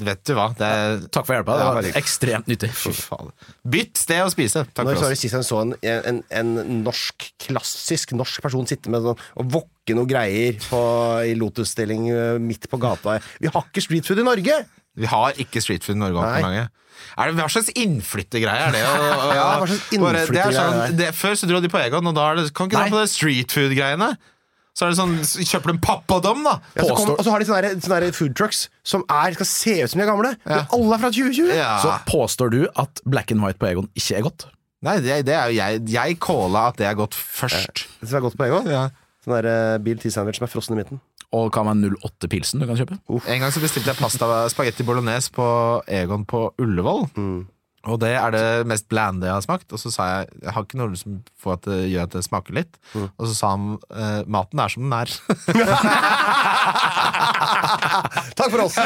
S1: vet du hva. Det er
S2: Takk for hjelpa,
S1: Ja,
S2: det
S1: veldig.
S2: var ekstremt nyttig.
S1: Fy faen. Bytt sted å spise. Takk
S3: Når
S1: for
S3: var det
S1: oss.
S3: sist jeg så en, en, en norsk, klassisk norsk person sitte med sånn og wokke noe greier på, i Lotus-stilling eh, midt på gata? Vi har ikke street food i Norge!
S1: Vi har ikke street food i Norge.
S3: Nei.
S1: Nei. Er det, hva slags innflyttergreie er det? å- å-
S3: (laughs) Ja, hva slags
S1: bare- det er
S3: innflyttergreie er
S1: sånn, det, før så dro de på Egon, og da er det, kan ikke
S2: Nei.
S1: du ha på det street food-greiene? Så er det sånn, så kjøper du en pappadom, da?
S3: Ja, så altså- kom,
S2: Påstår-
S3: og så har de sånne, der- sånne der food trucks som er, skal se ut som de er gamle. Men alle er fra 2020!
S1: Ja.
S2: Så påstår du at black and white på Egon ikke er godt?
S1: Nei, det, det er jo jeg. Jeg calla at det er gått først.
S3: Det som er godt på en gang.
S1: Ja.
S3: Sånn der eh, Bill T-sandwich som er frossen i midten.
S2: Og hva med 08 pilsen du kan kjøpe?
S1: En gang så bestilte jeg pasta spagetti bolognese på Egon på Ullevål. Og det er det mest blande jeg har smakt. Og så sa jeg jeg har ikke noe som får at det gjør at det smaker litt. Og så sa han eh, maten er som den er. (laughs)
S3: Takk for oss!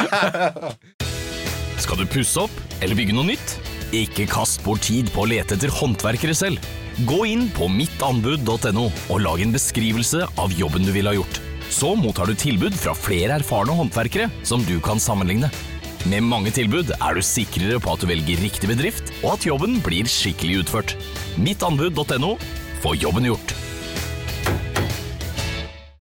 S4: Skal du pusse opp eller bygge noe nytt? Ikke kast bort tid på å lete etter håndverkere selv. Gå inn på mittanbud.no og lag en beskrivelse av jobben du ville ha gjort. Så mottar du tilbud fra flere erfarne håndverkere som du kan sammenligne. Med mange tilbud er du sikrere på at du velger riktig bedrift, og at jobben blir skikkelig utført. Mittanbud.no får jobben gjort.